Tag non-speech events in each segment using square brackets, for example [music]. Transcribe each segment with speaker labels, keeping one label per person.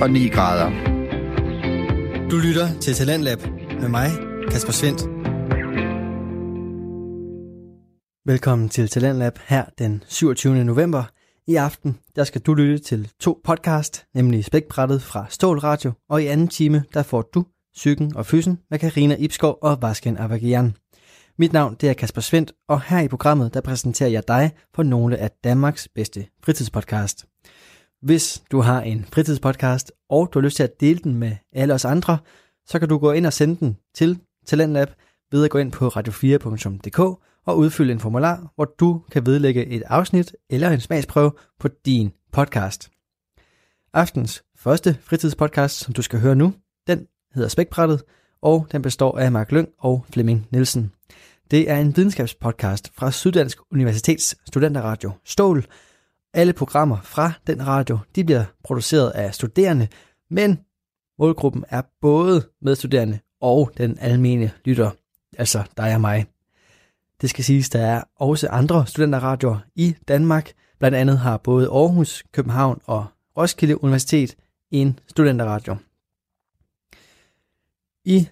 Speaker 1: og 9 grader.
Speaker 2: Du lytter til Talentlab med mig, Kasper Svendt. Velkommen til Talentlab her den 27. november. I aften der skal du lytte til to podcast, nemlig Spækbrættet fra Stål Radio, og i anden time der får du Psyken og Fysen med Karina Ibskov og Vasken Avagian. Mit navn det er Kasper Svendt, og her i programmet der præsenterer jeg dig for nogle af Danmarks bedste fritidspodcast. Hvis du har en fritidspodcast, og du har lyst til at dele den med alle os andre, så kan du gå ind og sende den til Talentlab ved at gå ind på radio4.dk og udfylde en formular, hvor du kan vedlægge et afsnit eller en smagsprøve på din podcast. Aftens første fritidspodcast, som du skal høre nu, den hedder Spækbrættet, og den består af Mark Lyng og Flemming Nielsen. Det er en videnskabspodcast fra Syddansk Universitets Studenterradio Stål, alle programmer fra den radio, de bliver produceret af studerende, men målgruppen er både medstuderende og den almene lytter, altså dig og mig. Det skal siges, der er også andre studenterradioer i Danmark. Blandt andet har både Aarhus, København og Roskilde Universitet en studenterradio. I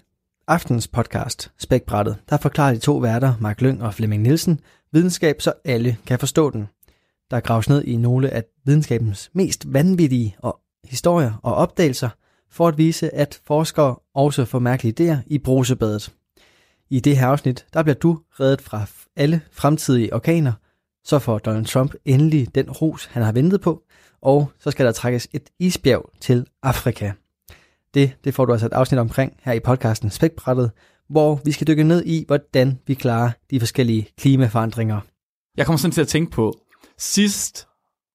Speaker 2: aftens podcast, Spækbrættet, der forklarer de to værter, Mark Lyng og Flemming Nielsen, videnskab, så alle kan forstå den der graves ned i nogle af videnskabens mest vanvittige og historier og opdagelser, for at vise, at forskere også får mærkelige idéer i brusebadet. I det her afsnit, der bliver du reddet fra alle fremtidige orkaner, så får Donald Trump endelig den ros, han har ventet på, og så skal der trækkes et isbjerg til Afrika. Det, det får du altså et afsnit omkring her i podcasten Spækbrættet, hvor vi skal dykke ned i, hvordan vi klarer de forskellige klimaforandringer.
Speaker 3: Jeg kommer sådan til at tænke på, sidst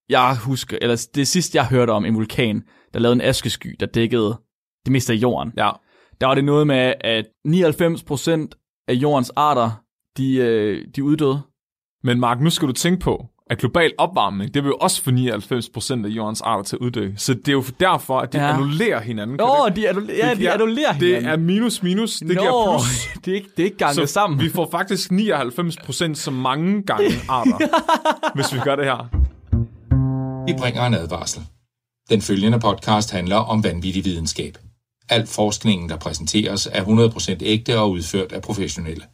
Speaker 3: jeg husker, eller det sidste jeg hørte om en vulkan, der lavede en askesky, der dækkede det meste af jorden.
Speaker 4: Ja.
Speaker 3: Der var det noget med, at 99% af jordens arter, de, øh, de er uddøde.
Speaker 4: Men Mark, nu skal du tænke på, at global opvarmning, det vil jo også få 99% af jordens arter til at uddø. Så det er jo derfor, at de
Speaker 3: Ja.
Speaker 4: ja. annullerer hinanden. Kan
Speaker 3: Nå,
Speaker 4: det-
Speaker 3: de, annuller, ja,
Speaker 4: det
Speaker 3: de
Speaker 4: giver-
Speaker 3: annullerer
Speaker 4: Det
Speaker 3: hinanden.
Speaker 4: er minus minus, det
Speaker 3: Nå,
Speaker 4: giver plus.
Speaker 3: det er ikke, det er ikke ganget sammen.
Speaker 4: vi får faktisk 99% så mange gange
Speaker 3: [laughs]
Speaker 4: arter, hvis vi gør det her.
Speaker 5: Vi bringer en advarsel. Den følgende podcast handler om vanvittig videnskab. Al forskningen, der præsenteres, er 100% ægte og udført af professionelle.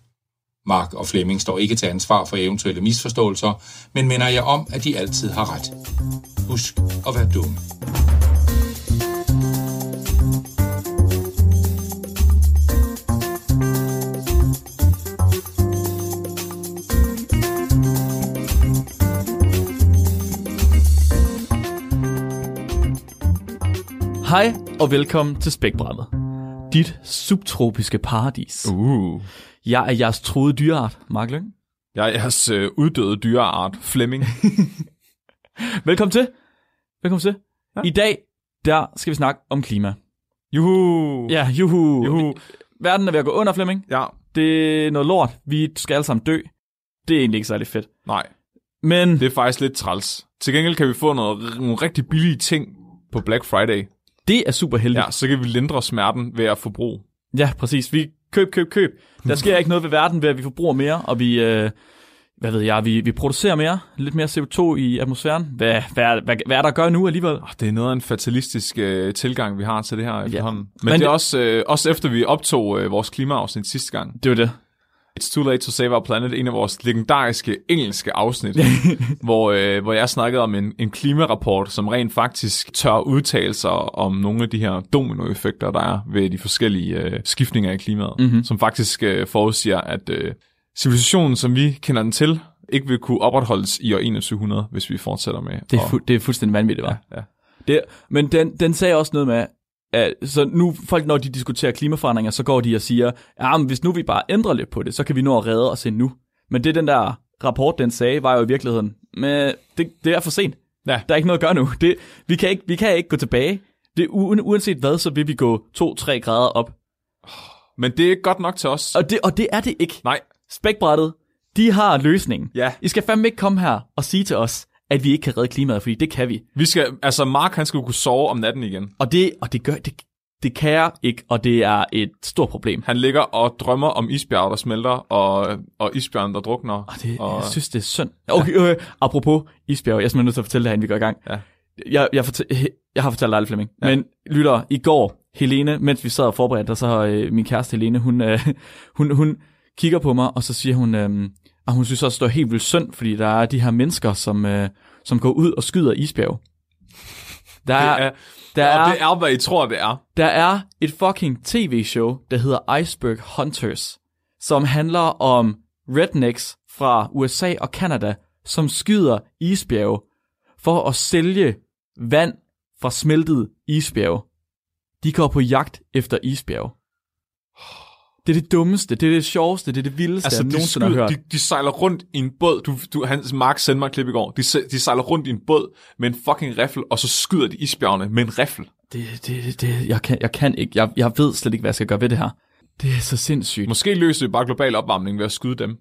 Speaker 5: Mark og Flemming står ikke til ansvar for eventuelle misforståelser, men minder jer om, at de altid har ret. Husk at være dumme.
Speaker 3: Hej og velkommen til Spækbrættet. Dit subtropiske paradis. Uh.
Speaker 4: Uh.
Speaker 3: Jeg er jeres troede dyreart, Mark Lyng.
Speaker 4: Jeg er jeres øh, uddøde dyreart,
Speaker 3: [laughs]
Speaker 4: Flemming.
Speaker 3: Velkommen til. Velkommen til. Ja. I dag, der skal vi snakke om klima.
Speaker 4: Juhu.
Speaker 3: Ja, juhu.
Speaker 4: Juhu.
Speaker 3: Verden er ved at gå under, Flemming.
Speaker 4: Ja,
Speaker 3: Det er noget lort. Vi skal alle sammen dø. Det er egentlig ikke særlig fedt.
Speaker 4: nej.
Speaker 3: Men
Speaker 4: Det er faktisk lidt træls. Til gengæld kan vi få noget, nogle rigtig billige ting på Black Friday.
Speaker 3: det er super heldigt.
Speaker 4: Ja, så kan vi lindre smerten ved at forbruge.
Speaker 3: ja præcis. Vi køb, køb, køb. Der sker ikke noget ved verden ved, at vi forbruger mere, og vi... Øh, hvad ved jeg, vi, vi producerer mere, lidt mere CO2 i atmosfæren. Hvad, hvad, hvad, hvad er der at gøre nu alligevel?
Speaker 4: Åh, Det er noget af en fatalistisk øh, tilgang, vi har til det her efterhånden. Men,
Speaker 3: Men
Speaker 4: Men det er
Speaker 3: det-
Speaker 4: også, øh, også efter, vi optog øh, vores klimaafsnit sidste gang.
Speaker 3: Det var det.
Speaker 4: It's Too Late to Save Our Planet, en af vores legendariske
Speaker 3: [laughs]
Speaker 4: engelske afsnit, hvor, øh, hvor jeg snakkede om en, en klimarapport, som rent faktisk tør udtale sig om nogle af de her dominoeffekter, der er ved de forskellige øh, skiftninger i klimaet,
Speaker 3: Mhm.
Speaker 4: mm-hmm. som faktisk øh, forudsiger, at øh, civilisationen, som vi kender den til, ikke vil kunne opretholdes i år 2100, hvis vi fortsætter med.
Speaker 3: Det er,
Speaker 4: at-
Speaker 3: fu- det er fuldstændig vanvittigt, var.
Speaker 4: ja.
Speaker 3: Det, men den, den sagde også noget med, at, så nu folk, når de diskuterer klimaforandringer, så går de og siger, ja, men hvis nu vi bare ændrer lidt på det, så kan vi nå at redde os endnu. Men det den der rapport, den sagde, var jo i virkeligheden, men det, det er for sent.
Speaker 4: Ja.
Speaker 3: Der er ikke noget at gøre nu. Det, vi, kan ikke, vi kan ikke gå tilbage. Det, u- uanset hvad, så vil vi gå 2-3 grader op.
Speaker 4: Men det er ikke godt nok til os.
Speaker 3: Og det, og det er det ikke.
Speaker 4: Nej,
Speaker 3: Spækbrættet, de har løsningen.
Speaker 4: Ja.
Speaker 3: I skal fandme ikke komme her og sige til os, at vi ikke kan redde klimaet, fordi det kan vi.
Speaker 4: vi skal, altså Mark han skal jo kunne sove om natten igen.
Speaker 3: Og det, og det gør, det, det kan jeg ikke, og det er et stort problem.
Speaker 4: Han ligger og drømmer om isbjerge, der smelter, og, og isbjørn, der drukner.
Speaker 3: Og det,
Speaker 4: og,
Speaker 3: jeg synes, det er synd. Okay, øh, apropos isbjerg, jeg er simpelthen nødt til at fortælle det her, inden vi går i gang.
Speaker 4: Ja.
Speaker 3: Jeg, jeg fortæ- he- Jeg har fortalt dig, Flemming. Ja. Men lytter, i går, Helene, mens vi sad og forberedte, så øh, min kæreste Helene, hun, øh, hun, hun kigger på mig, og så siger hun, øh, at hun synes også, det er helt vildt synd, fordi der er de her mennesker, som, øh, som går ud og skyder isbjerg. Der er,
Speaker 4: Det er-
Speaker 3: der,
Speaker 4: Ja.
Speaker 3: er,
Speaker 4: Og det er, hvad I tror, det er.
Speaker 3: der er et fucking tv-show, der hedder Iceberg Hunters, som handler om rednecks fra USA og Kanada, som skyder isbjerge for at sælge vand fra smeltede isbjerge. De går på jagt efter isbjerge. Det er det dummeste, det er det sjoveste, det er det vildeste, altså, jeg
Speaker 4: de,
Speaker 3: nogensinde har hørt.
Speaker 4: de, de sejler rundt i en båd. Du, du, hans Mark sendte mig et klip i går. De, se- de sejler rundt i en båd med en fucking riffel, og så skyder de isbjergene med en riffel.
Speaker 3: Det, det, det, det jeg, kan, jeg kan ikke. Jeg, jeg ved slet ikke, hvad jeg skal gøre ved det her. Det er så sindssygt.
Speaker 4: Måske løser vi bare global opvarmning ved at skyde dem.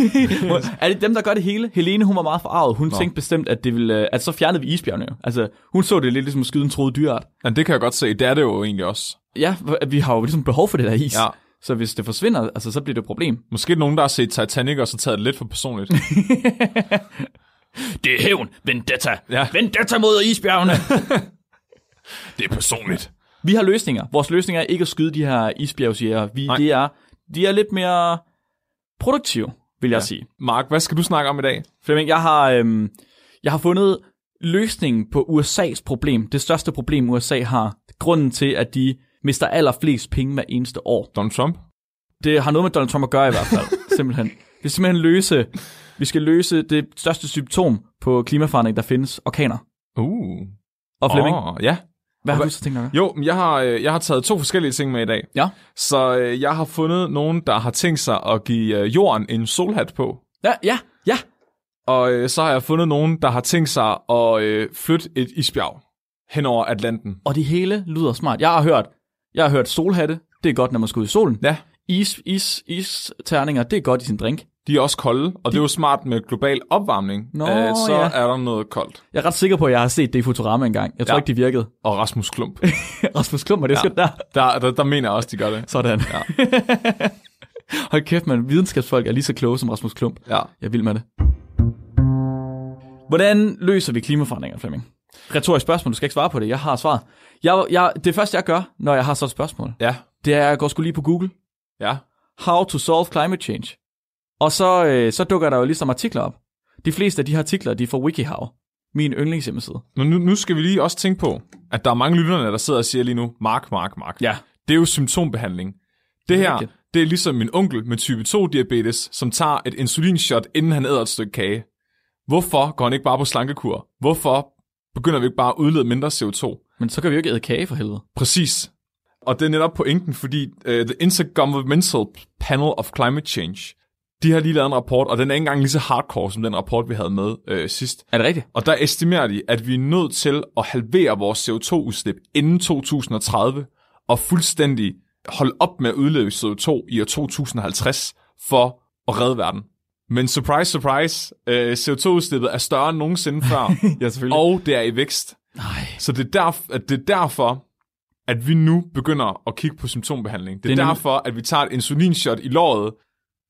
Speaker 3: [laughs] er det dem, der gør det hele? Helene, hun var meget forarvet. Hun Nå. tænkte bestemt, at, det ville, øh, at så fjernede vi isbjergene jo. Altså, hun så det lidt ligesom at skyde en troet dyreart.
Speaker 4: Men det kan jeg godt se. Det er det jo egentlig også.
Speaker 3: Ja, v- vi har jo ligesom behov for det der is.
Speaker 4: Ja.
Speaker 3: Så hvis det forsvinder, altså, så bliver det et problem.
Speaker 4: Måske er der nogen, der har set Titanic og så taget det lidt for
Speaker 3: [laughs]
Speaker 4: personligt.
Speaker 3: Det er hævn. Vendetta.
Speaker 4: Ja.
Speaker 3: Vendetta mod isbjergene.
Speaker 4: [laughs] det er personligt.
Speaker 3: vi har løsninger. Vores løsninger er ikke at skyde de her isbjergsjæger. Vi,
Speaker 4: Nej.
Speaker 3: de, er, de er lidt mere produktive, vil jeg ja. sige.
Speaker 4: Mark, hvad skal du snakke om i dag?
Speaker 3: Flemming, jeg har, øhm, jeg har fundet løsningen på USA's problem. Det største problem, USA har. Grunden til, at de mister allerflest penge hver eneste år.
Speaker 4: Donald Trump?
Speaker 3: Det har noget med Donald Trump at gøre i hvert
Speaker 4: [laughs]
Speaker 3: fald, simpelthen. Vi skal simpelthen løse, vi skal løse det største symptom på klimaforandring, der findes, orkaner.
Speaker 4: Uh.
Speaker 3: Og Flemming, oh,
Speaker 4: Åh, ja.
Speaker 3: hvad har
Speaker 4: hvad-
Speaker 3: du så tænkt dig at gøre?
Speaker 4: Jo, men jeg har, øh, jeg har taget to forskellige ting med i dag.
Speaker 3: Ja.
Speaker 4: Så øh, jeg har fundet nogen, der har tænkt sig at give øh, jorden en solhat på.
Speaker 3: Ja, ja, ja.
Speaker 4: Og øh, så har jeg fundet nogen, der har tænkt sig at øh, flytte et isbjerg hen over Atlanten.
Speaker 3: Og det hele lyder smart. Jeg har hørt, jeg har hørt solhatte, det er godt, når man skal ud i solen.
Speaker 4: Ja,
Speaker 3: Is, is, is, terninger, det er godt i sin drink.
Speaker 4: de er også kolde, og det er jo smart med global opvarmning. Øh,
Speaker 3: Nå,
Speaker 4: så
Speaker 3: ja.
Speaker 4: er der noget koldt.
Speaker 3: Jeg er ret sikker på, at jeg har set det i Futurama engang. Jeg tror ja.
Speaker 4: Ja.
Speaker 3: ikke, det virkede.
Speaker 4: Og Rasmus Klump. [laughs]
Speaker 3: Rasmus Klummer, det er ja. der.
Speaker 4: Der, der, der mener jeg også, de gør det.
Speaker 3: Sådan. Ja. [laughs] Hold kæft, man. Videnskabsfolk er lige så kloge som Rasmus Klump.
Speaker 4: Ja.
Speaker 3: Jeg vil med det. Hvordan løser vi klimaforandringer, Flemming? Retorisk spørgsmål, du skal ikke svare på det. Jeg har svaret. Jeg, jeg, det første, jeg gør, når jeg har sådan et spørgsmål,
Speaker 4: Ja,
Speaker 3: det er, at jeg går sgu lige på Google.
Speaker 4: ja.
Speaker 3: How to solve climate change. Og så, øh, så dukker der jo ligesom artikler op. De fleste af de her artikler, de er fra WikiHow. Min yndlingshjemmeside.
Speaker 4: Men nu, nu skal vi lige også tænke på, at der er mange lytterne, der sidder og siger lige nu, Mark, Mark, Mark.
Speaker 3: Ja.
Speaker 4: Det er jo symptombehandling. Det
Speaker 3: Det er
Speaker 4: her,
Speaker 3: rigtigt.
Speaker 4: det er ligesom min onkel med type 2-diabetes, som tager et insulinshot, inden han æder et stykke kage. Hvorfor går han ikke bare på slankekur? Hvorfor begynder vi ikke bare at udlede mindre CO2?
Speaker 3: Men så kan vi jo ikke æde kage for helvede.
Speaker 4: Præcis. Og det er netop pointen, fordi uh, The Intergovernmental Panel of Climate Change, de har lige lavet en rapport, og den er ikke engang lige så hardcore som den rapport, vi havde med øh, sidst.
Speaker 3: Er det rigtigt?
Speaker 4: Og der estimerer de, at vi er nødt til at halvere vores CO2-udslip inden 2030, og fuldstændig holde op med at udlede CO2 i år 2050 for at redde verden. Men surprise, surprise, øh, CO2-udslippet er større end nogensinde før,
Speaker 3: [laughs] Ja, selvfølgelig. Og...
Speaker 4: og det er i vækst.
Speaker 3: Nej.
Speaker 4: Så det er, derf- at det er derfor, at vi nu begynder at kigge på symptombehandling. Det er,
Speaker 3: Det
Speaker 4: det
Speaker 3: er
Speaker 4: er
Speaker 3: nemlig-
Speaker 4: derfor, at vi tager et insulinshot i låret,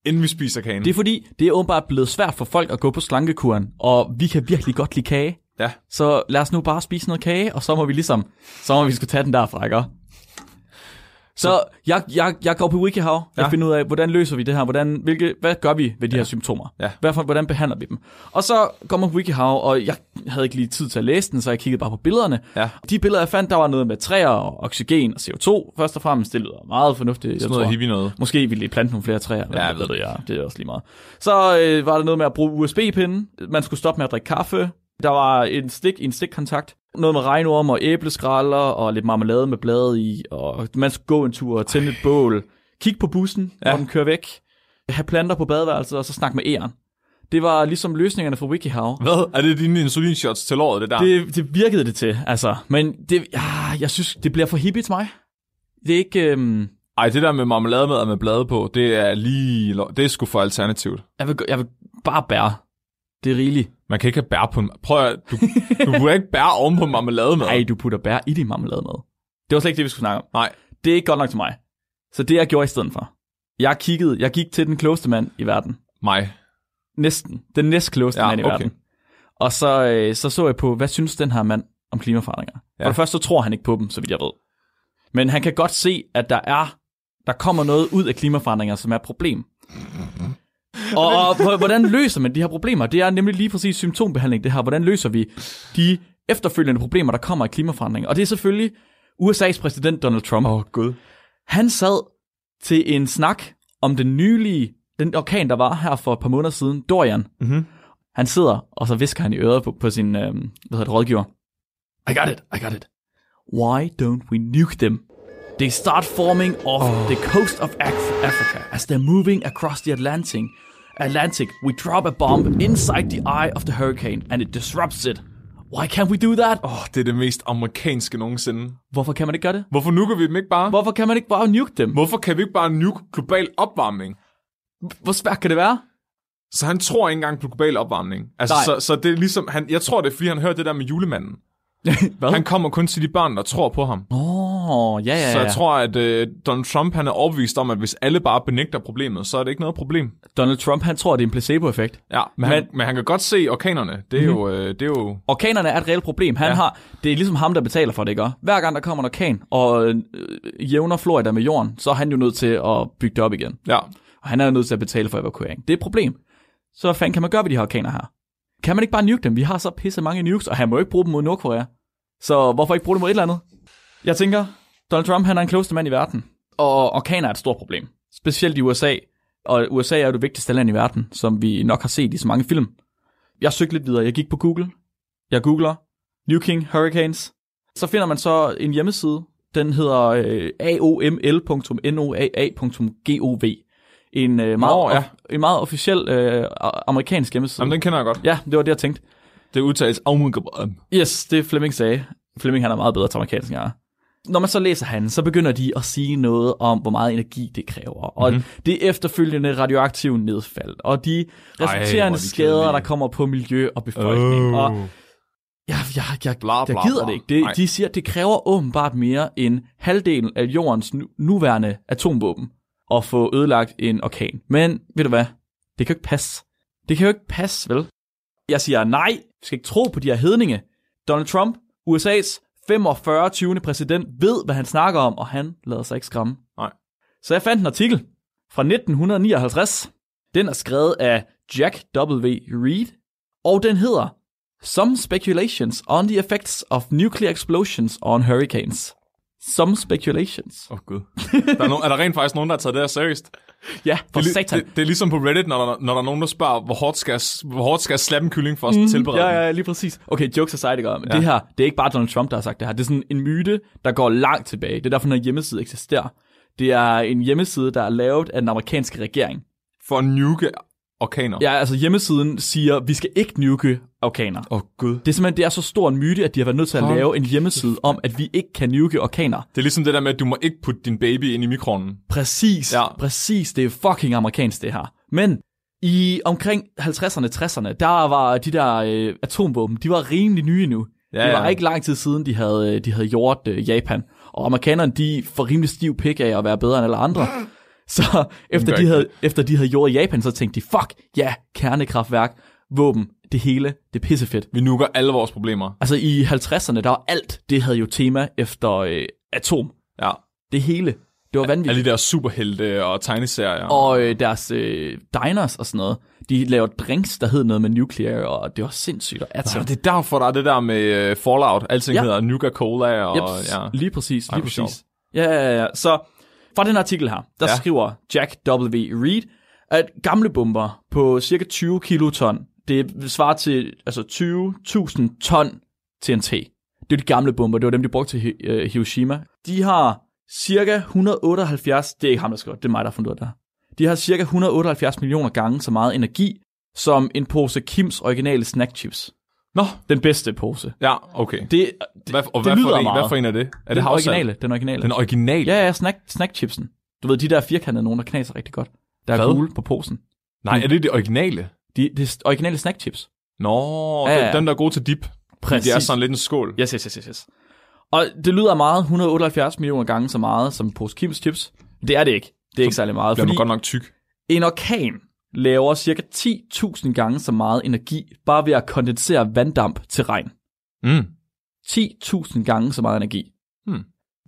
Speaker 4: inden vi spiser kagen.
Speaker 3: Det er fordi, det er åbenbart blevet svært for folk at gå på slankekuren, og vi kan virkelig godt lide kage.
Speaker 4: Ja.
Speaker 3: Så lad os nu bare spise noget kage, og så må vi ligesom, så må vi skulle tage den derfra, ikke? Så jeg, jeg, jeg går på WikiHow, jeg
Speaker 4: Ja.
Speaker 3: finder ud af, hvordan løser vi det her, hvordan, hvilke, hvad gør vi ved de ja. her symptomer,
Speaker 4: Ja.
Speaker 3: Hvad for, hvordan behandler vi dem. Og så kommer på WikiHow, og jeg havde ikke lige tid til at læse den, så jeg kiggede bare på billederne.
Speaker 4: Ja.
Speaker 3: De billeder, jeg fandt, der var noget med træer og oxygen og CO2, først og fremmest, det lyder meget fornuftigt.
Speaker 4: Sådan noget hippie noget.
Speaker 3: Måske ville de plante nogle flere træer. Ja,
Speaker 4: jeg
Speaker 3: ved
Speaker 4: ved
Speaker 3: det, ja. Det er også lige meget. Så øh, var der noget med at bruge USB-pinden. Man skulle stoppe med at drikke kaffe. Der var en stik i en stikkontakt. Noget med regnorm og æbleskralder og lidt marmelade med blade i. Og man skulle gå en tur og tænde et bål. Kig på bussen, ja. når den kører væk. Have planter på badeværelset og så snakke med æren. Det var ligesom løsningerne fra WikiHow.
Speaker 4: Hvad? Er det dine insulinshots til låret, det der?
Speaker 3: Det, det virkede det til, altså. Men det, ah, jeg synes, det bliver for hippie til mig. Det er ikke... Øhm,
Speaker 4: Ej, det der med marmelademad og med blade på, det er lige... lo- Det er sgu for alternativt.
Speaker 3: jeg, vil, jeg vil bare bære. Det er rigeligt.
Speaker 4: Man kan ikke have bær på en... Prøv at... Du, du burde ikke bære oven på en marmelademad.
Speaker 3: Ej, du putter bær i din marmelade med. Det var slet ikke det, vi skulle snakke om.
Speaker 4: Nej.
Speaker 3: Det er ikke godt nok til mig. Så det, jeg gjorde i stedet for. Jeg kiggede, jeg gik til den klogeste mand i verden.
Speaker 4: Mig.
Speaker 3: Næsten. Den næstklogeste ja,
Speaker 4: Ja,
Speaker 3: mand i
Speaker 4: okay.
Speaker 3: verden. Og så, øh, så så jeg på, hvad synes den her mand om klimaforandringer. Ja.
Speaker 4: Ja.
Speaker 3: For det første så tror han ikke på dem, så vidt jeg ved. Men han kan godt se, at der er der kommer noget ud af klimaforandringer, som er et problem.
Speaker 4: Mhm. [laughs]
Speaker 3: Og, og h- hvordan løser man de her problemer? Det er nemlig lige præcis symptombehandling, det her. Hvordan løser vi de efterfølgende problemer, der kommer af klimaforandringer? Og det er selvfølgelig USA's præsident Donald Trump.
Speaker 4: Åh, oh, gud.
Speaker 3: Han sad til en snak om den nylige, den orkan, der var her for et par måneder siden, Dorian.
Speaker 4: Mhm.
Speaker 3: Han sidder, og så visker han i øret på, på sin øhm, hvad hedder det, rådgiver. I got it, I got it. Why don't we nuke them? They start forming off oh. the coast of Af- Africa as they're moving across the Atlantic. Atlantic, we drop a bomb inside the eye of the hurricane, and it disrupts it. Why can't we do that?
Speaker 4: Åh, oh, det er det mest amerikanske nogensinde.
Speaker 3: Hvorfor kan man ikke gøre det?
Speaker 4: Hvorfor nuker vi dem ikke bare?
Speaker 3: Hvorfor kan man ikke bare nuke dem?
Speaker 4: Hvorfor kan vi ikke bare nuke global opvarmning?
Speaker 3: Hvor svært kan det være?
Speaker 4: Så han tror ikke engang på global opvarmning. Altså,
Speaker 3: Nej.
Speaker 4: så, så det er ligesom, han, jeg tror, det er, fordi han hørte det der med julemanden.
Speaker 3: [laughs] Hvad?
Speaker 4: Han kommer kun til de børn, der tror på ham.
Speaker 3: Åh, oh, ja, ja, ja.
Speaker 4: Så jeg tror, at øh, Donald Trump han er overbevist om, at hvis alle bare benægter problemet, så er det ikke noget problem.
Speaker 3: Donald Trump, han tror, det er en placeboeffekt.
Speaker 4: Ja, men, men, han, men han kan godt se orkanerne. Det er, mm-hmm.
Speaker 3: Mhm.
Speaker 4: jo, øh, det er jo...
Speaker 3: Orkanerne er et reelt problem. Han ja. har, det er ligesom ham, der betaler for det, ikke? også? Hver gang der kommer en orkan og øh, jævner Florida med jorden, så er han jo nødt til at bygge det op igen.
Speaker 4: Ja,
Speaker 3: Og han er jo nødt til at betale for evakuering. Det er et problem. Så hvad fanden kan man gøre ved de her orkaner her? Kan man ikke bare nuke dem? Vi har så pisse mange nukes, og han må jo ikke bruge dem mod Nordkorea. Så hvorfor ikke bruge dem mod et eller andet? Jeg tænker, Donald Trump han er den klogeste mand i verden. Og orkaner er et stort problem. Specielt i USA. Og USA er jo det vigtigste land i verden, som vi nok har set i så mange film. Jeg søgte lidt videre. Jeg gik på Google. Jeg googler Nuking Hurricanes. Så finder man så en hjemmeside. Den hedder øh, aoml.noaa.gov. En, øh, meget,
Speaker 4: Nå, ja.
Speaker 3: of- en meget officiel øh, amerikansk hjemmeside.
Speaker 4: Jamen, den kender jeg godt.
Speaker 3: Ja, det var det, jeg tænkte.
Speaker 4: Det udtales afmugget.
Speaker 3: Yes, det Flemming sagde. Flemming han er meget bedre til amerikansk end jeg er. Når man så læser han, så begynder de at sige noget om, hvor meget energi det kræver, og
Speaker 4: Mhm.
Speaker 3: mm-hmm. det efterfølgende radioaktive nedfald, og de
Speaker 4: hvor er
Speaker 3: resulterende
Speaker 4: de
Speaker 3: Ej, skader,
Speaker 4: kedelige.
Speaker 3: der kommer på miljø og befolkning. Oh. Og jeg, jeg, jeg,
Speaker 4: Bla,
Speaker 3: jeg
Speaker 4: bla,
Speaker 3: gider
Speaker 4: bla.
Speaker 3: det ikke. Det,
Speaker 4: Nej.
Speaker 3: de siger, at det kræver åbenbart mere end halvdelen af jordens nu, nuværende atomvåben at få ødelagt en orkan. Men ved du hvad? Det kan jo ikke passe. Det kan jo ikke passe, vel? Jeg siger nej. Vi skal ikke tro på de her hedninge. Donald Trump, USA's 45. 20. præsident, ved, hvad han snakker om, og han lader sig ikke skræmme.
Speaker 4: Nej.
Speaker 3: Så jeg fandt en artikel fra 1959. Den er skrevet af Jack W. Reed, og den hedder Some Speculations on the Effects of Nuclear Explosions on Hurricanes. Some speculations.
Speaker 4: Åh, oh,
Speaker 3: [laughs]
Speaker 4: gud. Der er, no- er der rent faktisk nogen, der har taget det her seriøst?
Speaker 3: Ja, for
Speaker 4: det, er li-
Speaker 3: satan.
Speaker 4: Det, det er ligesom på Reddit, når der, når der er nogen, der spørger, hvor hårdt skal, jeg s- hvor hårdt skal jeg slappe en kylling for at mm, tilberede
Speaker 3: Mhm. Ja,
Speaker 4: den?
Speaker 3: ja, lige præcis. Okay, jokes aside, ikke? Men ja. det her, det er ikke bare Donald Trump, der har sagt det her. Det er sådan en myte, der går langt tilbage. Det er derfor, den her hjemmeside eksisterer. Det er en hjemmeside, der er lavet af den amerikanske regering.
Speaker 4: For at nuke orkaner.
Speaker 3: Ja, altså hjemmesiden siger, vi skal ikke nuke orkaner.
Speaker 4: Åh, oh, gud.
Speaker 3: Det er simpelthen det er så stor en myte, at de har været nødt til at
Speaker 4: Hold
Speaker 3: lave en hjemmeside om, at vi ikke kan nuke orkaner.
Speaker 4: Det er ligesom det der med, at du må ikke putte din baby ind i mikroovnen.
Speaker 3: Præcis,
Speaker 4: Ja.
Speaker 3: ja. præcis. Det er fucking amerikansk, det her. Men i omkring 50'erne, 60'erne, der var de der øh, atomvåben, de var rimelig nye nu.
Speaker 4: Ja,
Speaker 3: Ja, det var
Speaker 4: ja.
Speaker 3: ja. ikke lang tid siden, de havde, de havde gjort øh, Japan. Og amerikanerne, de får rimelig stiv pik af at være bedre end alle andre. [laughs] Så efter de,
Speaker 4: ikke
Speaker 3: havde, efter de havde gjort Japan, så tænkte de, fuck, ja, kernekraftværk, våben, det hele, det er pissefedt.
Speaker 4: Vi nuker alle vores problemer.
Speaker 3: Altså i 50'erne, der var alt, det havde jo tema efter øh, atom.
Speaker 4: Ja.
Speaker 3: Det hele. Det var vanvittigt.
Speaker 4: Alle de der superhelte og tegneserier.
Speaker 3: Og øh, deres øh, diners og sådan noget, de laver drinks, der hed noget med nuclear, og det var sindssygt og atom.
Speaker 4: Og det er derfor, der er det der med øh, Fallout. Alting ja.
Speaker 3: Ja.
Speaker 4: hedder Nuka Cola. Og,
Speaker 3: Jeps,
Speaker 4: ja.
Speaker 3: lige præcis,
Speaker 4: Ej,
Speaker 3: lige
Speaker 4: hvor
Speaker 3: præcis.
Speaker 4: sjovt.
Speaker 3: Ja, ja, ja. Så fra den artikel her, der
Speaker 4: Ja.
Speaker 3: ja. skriver Jack W. Reed, at gamle bomber på cirka 20 kiloton, det svarer til altså 20.000 ton TNT. Det er de gamle bomber, det var dem, de brugte til Hi- øh, Hiroshima. De har cirka 178, det er ikke ham, der skriver, det er mig, der har fundet ud af det her. De har cirka 178 millioner gange så meget energi, som en pose Kims originale snackchips.
Speaker 4: Nå,
Speaker 3: Den bedste pose.
Speaker 4: ja, okay.
Speaker 3: Det, det,
Speaker 4: Hvad, og
Speaker 3: det
Speaker 4: hvad,
Speaker 3: lyder
Speaker 4: for en,
Speaker 3: meget.
Speaker 4: hvad for en er det? Er det
Speaker 3: den
Speaker 4: havsalt?
Speaker 3: originale, den originale.
Speaker 4: Den originale?
Speaker 3: Ja, ja, snack, snackchipsen. Du ved, de der firkantede nogen, der knaser rigtig godt. Der er
Speaker 4: Hvad?
Speaker 3: gule på posen.
Speaker 4: Nej, er det det originale?
Speaker 3: De, det er originale snackchips.
Speaker 4: Nå,
Speaker 3: Ja,
Speaker 4: ja,
Speaker 3: ja.
Speaker 4: dem der er gode til dip. Præcis. De er sådan lidt en skål.
Speaker 3: Yes, yes, yes, yes, yes. Og det lyder meget, 178 millioner gange så meget som en pose Kims chips. Det er det ikke. Det er ikke særlig meget,
Speaker 4: Bliver
Speaker 3: fordi
Speaker 4: man godt nok tyk.
Speaker 3: en orkan laver cirka 10.000 gange så meget energi, bare ved at kondensere vanddamp til regn.
Speaker 4: Mm.
Speaker 3: 10.000 gange så meget energi.
Speaker 4: Hmm.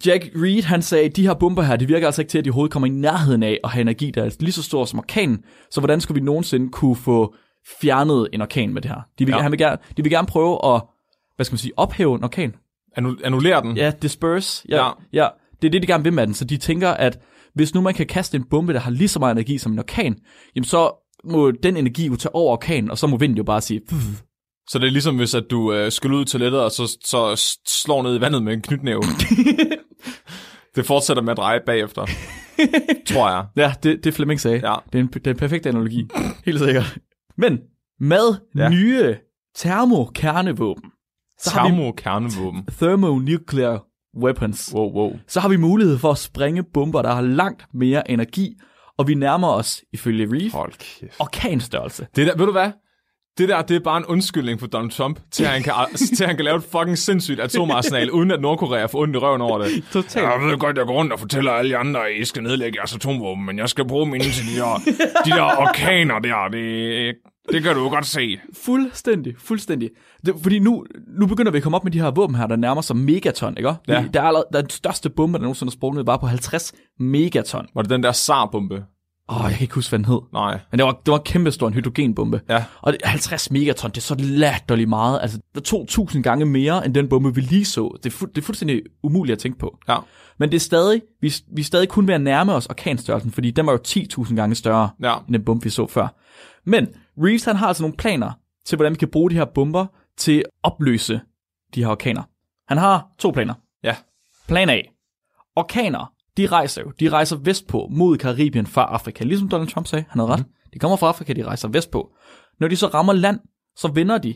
Speaker 3: Jack Reed, han sagde, de her bomber her, det virker altså ikke til, at de overhovedet kommer i nærheden af at have energi, der er lige så stor som orkanen. Så hvordan skulle vi nogensinde kunne få fjernet en orkan med det her? De vil,
Speaker 4: Ja.
Speaker 3: ja. han vil gerne, de vil gerne prøve at, hvad skal man sige, ophæve en orkan.
Speaker 4: Annu- annullerer den.
Speaker 3: Ja, disperse. Hmm. Ja,
Speaker 4: Ja.
Speaker 3: ja. ja. Det er det, de gerne vil med den. Så de tænker, at hvis nu man kan kaste en bombe, der har lige så meget energi som en orkan, jamen så må den energi jo tage over orkanen, og så må vinden jo bare sige, "Pff."
Speaker 4: Så det er ligesom, hvis at du øh, skyller ud i toilettet, og så, så s- slår ned i vandet med en
Speaker 3: [laughs]
Speaker 4: knytnæve. det fortsætter med at dreje bagefter. tror jeg.
Speaker 3: ja, det, det Flemming sagde.
Speaker 4: Ja.
Speaker 3: Det er en, det er en perfekt
Speaker 4: [laughs]
Speaker 3: analogi. Helt sikkert. Men med
Speaker 4: Ja.
Speaker 3: ja. nye termokernevåben, så har vi
Speaker 4: Termokernevåben.
Speaker 3: thermonuclear weapons,
Speaker 4: Wow, wow.
Speaker 3: så har vi mulighed for at sprænge bomber, der har langt mere energi, og vi nærmer os, ifølge Reef,
Speaker 4: Hold kæft.
Speaker 3: orkanstørrelse.
Speaker 4: Det der, ved du hvad? Det der, det er bare en undskyldning for Donald Trump, til at han kan, til at han kan lave et fucking sindssygt atomarsenal, uden at Nordkorea får ondt i røven over det.
Speaker 3: Totalt.
Speaker 4: Jeg ved godt, jeg går rundt og fortæller alle jer andre, at I skal nedlægge jeres atomvåben, men jeg skal bruge mine til de der, de der orkaner der. Det, det kan du jo godt se.
Speaker 3: Fuldstændig, fuldstændig. Det, fordi nu, nu begynder vi at komme op med de her våben her, der nærmer sig megaton, ikke?
Speaker 4: Ja.
Speaker 3: Ja. Der, er allerede, der er den største bombe, der nogensinde er sprunget, var på 50 megaton.
Speaker 4: Var det den der SAR-bombe?
Speaker 3: Åh, oh, jeg kan ikke huske, hvad den hed.
Speaker 4: Nej.
Speaker 3: Men det var, det var en kæmpe stor en hydrogenbombe.
Speaker 4: Ja.
Speaker 3: Og det- 50 megaton, det er så latterligt meget. Altså, det er 2.000 gange mere, end den bombe, vi lige så. Det er, fu- det er fuldstændig umuligt at tænke på.
Speaker 4: Ja.
Speaker 3: Men det er stadig, vi, vi er stadig kun ved at nærme os orkanstørrelsen, fordi den var jo 10.000 gange større
Speaker 4: Ja.
Speaker 3: end den bombe, vi så før. Men Reeves han har altså nogle planer til, hvordan vi kan bruge de her bomber til at opløse de her orkaner. Han har to planer.
Speaker 4: Ja.
Speaker 3: Plan A. Orkaner, de rejser jo. De rejser vestpå mod Karibien fra Afrika. Ligesom Donald Trump sagde, han havde ret. De kommer fra Afrika, de rejser vestpå. Når de så rammer land, så vender de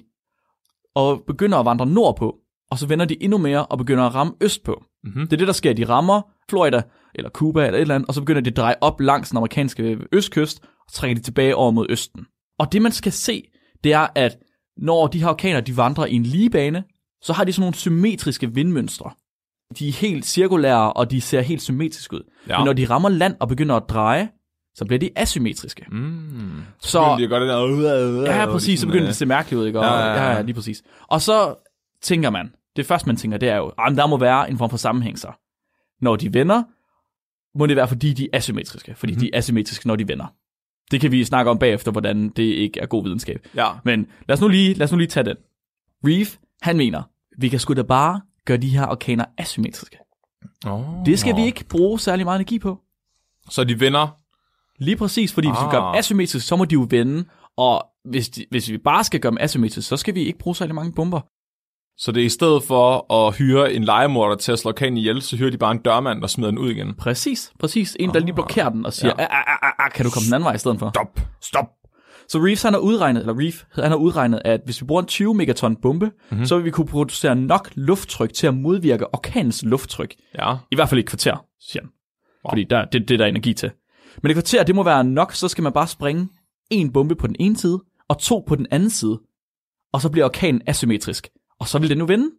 Speaker 3: og begynder at vandre nordpå. Og så vender de endnu mere og begynder at ramme østpå. Mm-hmm. Det er det, der sker. De rammer Florida eller Cuba eller et eller andet, og så begynder de at dreje op langs den amerikanske østkyst, og trækker de tilbage over mod østen. Og det, man skal se, det er, at når de her orkaner de vandrer i en lige bane, så har de sådan nogle symmetriske vindmønstre de er helt cirkulære, og de ser helt symmetriske ud.
Speaker 4: Ja.
Speaker 3: Ja. Men når de rammer land og begynder at dreje, så bliver de asymmetriske.
Speaker 4: Mm. Så
Speaker 3: Så,
Speaker 4: det godt det der.
Speaker 3: ja, præcis, så begynder det at se mærkeligt ud, ikke? Og,
Speaker 4: ligesom, øh, Ja, ja, ja.
Speaker 3: ja, ja, lige præcis. Og så tænker man, det første man tænker, det er jo, at der må være en form for sammenhæng så. Når de vender, må det være, fordi de er asymmetriske. Fordi
Speaker 4: Mhm.
Speaker 3: mm-hmm. de er asymmetriske, når de vender. Det kan vi snakke om bagefter, hvordan det ikke er god videnskab.
Speaker 4: Ja.
Speaker 3: Men lad os nu lige, lad os nu lige tage den. Reef, han mener, vi kan sgu da bare gøre de her orkaner asymmetriske.
Speaker 4: Oh.
Speaker 3: Det skal vi ikke bruge særlig meget energi på.
Speaker 4: Så de vinder.
Speaker 3: Lige præcis, fordi ah. hvis vi
Speaker 4: Ah.
Speaker 3: gør dem asymmetrisk, så må de jo vende, og hvis, de, hvis vi bare skal gøre dem asymmetrisk, så skal vi ikke bruge særlig mange bomber.
Speaker 4: Så det er i stedet for at hyre en legemorder til at slå kan ihjel, så hyrer de bare en dørmand og smider den ud igen.
Speaker 3: Præcis, præcis. En, der lige blokerer den og siger,
Speaker 4: Ja.
Speaker 3: ja. ah, ah, ah, ah, kan du komme den anden vej i stedet for?
Speaker 4: Stop. Stop.
Speaker 3: Så Reeves han har udregnet, eller Reef, han har udregnet, at hvis vi bruger en 20 megaton bombe,
Speaker 4: Mhm.
Speaker 3: mm-hmm. så vil vi kunne producere nok lufttryk til at modvirke orkanens lufttryk.
Speaker 4: Ja.
Speaker 3: I hvert fald i et kvarter, siger han. Wow. Fordi der, det, det er der energi til. Men et kvarter, det må være nok, så skal man bare springe en bombe på den ene side, og to på den anden side. Og så bliver orkanen asymmetrisk. Og så vil den nu vinde?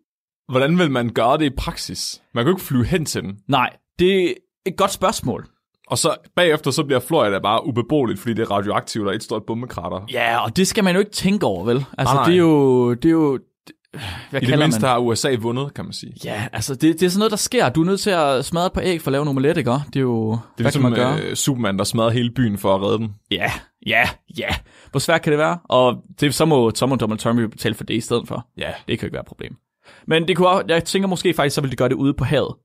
Speaker 4: Hvordan vil man gøre det i praksis? Man kan jo ikke flyve hen til den.
Speaker 3: Nej, det er et godt spørgsmål.
Speaker 4: Og så bagefter, så bliver Florida bare ubeboeligt, fordi det er radioaktivt og et stort bombekrater.
Speaker 3: Ja, og det skal man jo ikke tænke over, vel? Altså,
Speaker 4: Nej, nej.
Speaker 3: det er jo... Det er jo hvad
Speaker 4: I det
Speaker 3: kalder
Speaker 4: mindste
Speaker 3: man?
Speaker 4: har USA vundet, kan man sige.
Speaker 3: Ja, altså, det, det er sådan noget, der sker. Du er nødt til at smadre et par æg for at lave en omelet, ikke? Det er jo...
Speaker 4: Det er
Speaker 3: hvad kan man gøre?
Speaker 4: ligesom øh, Superman, der smadrer hele byen for at redde dem.
Speaker 3: Ja, ja, ja. Hvor svært kan det være? Og det, så må Tom og Donald Trump jo betale for det i stedet for.
Speaker 4: Ja.
Speaker 3: Det kan jo ikke være et problem. Men det kunne, også- jeg tænker måske faktisk, så vil de gøre det ude på havet,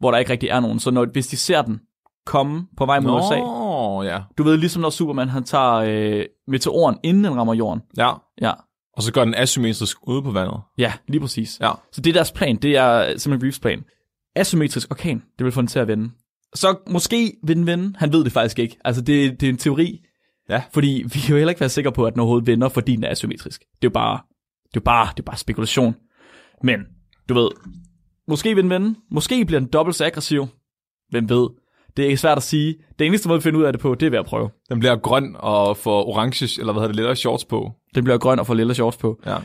Speaker 3: hvor der ikke rigtig er nogen. Så når, hvis de ser den komme på vej mod USA,
Speaker 4: Nå, ja.
Speaker 3: du ved ligesom når Superman han tager øh, meteoren, inden den rammer jorden.
Speaker 4: ja.
Speaker 3: Ja,
Speaker 4: Og så går den asymmetrisk ude på vandet.
Speaker 3: ja lige præcis.
Speaker 4: Ja.
Speaker 3: Så det er deres plan, det er simpelthen Reeves plan. Asymmetrisk orkan, det vil få den til at vende. Så måske vil den vende, han ved det faktisk ikke. Altså det, det er en teori,
Speaker 4: Ja.
Speaker 3: fordi vi kan jo heller ikke være sikre på, at den overhovedet vender, fordi den er asymmetrisk. Det er jo bare, det er jo bare, det er bare spekulation. Men, du ved, måske vil den vende, måske bliver den dobbelt så aggressiv. Hvem ved? Det er svært at sige. Det eneste måde, vi finder ud af det på, det er ved at prøve.
Speaker 4: Den bliver grøn og får orange, eller hvad hedder det, lettere shorts på.
Speaker 3: Den bliver grøn og får lille shorts på.
Speaker 4: Ja.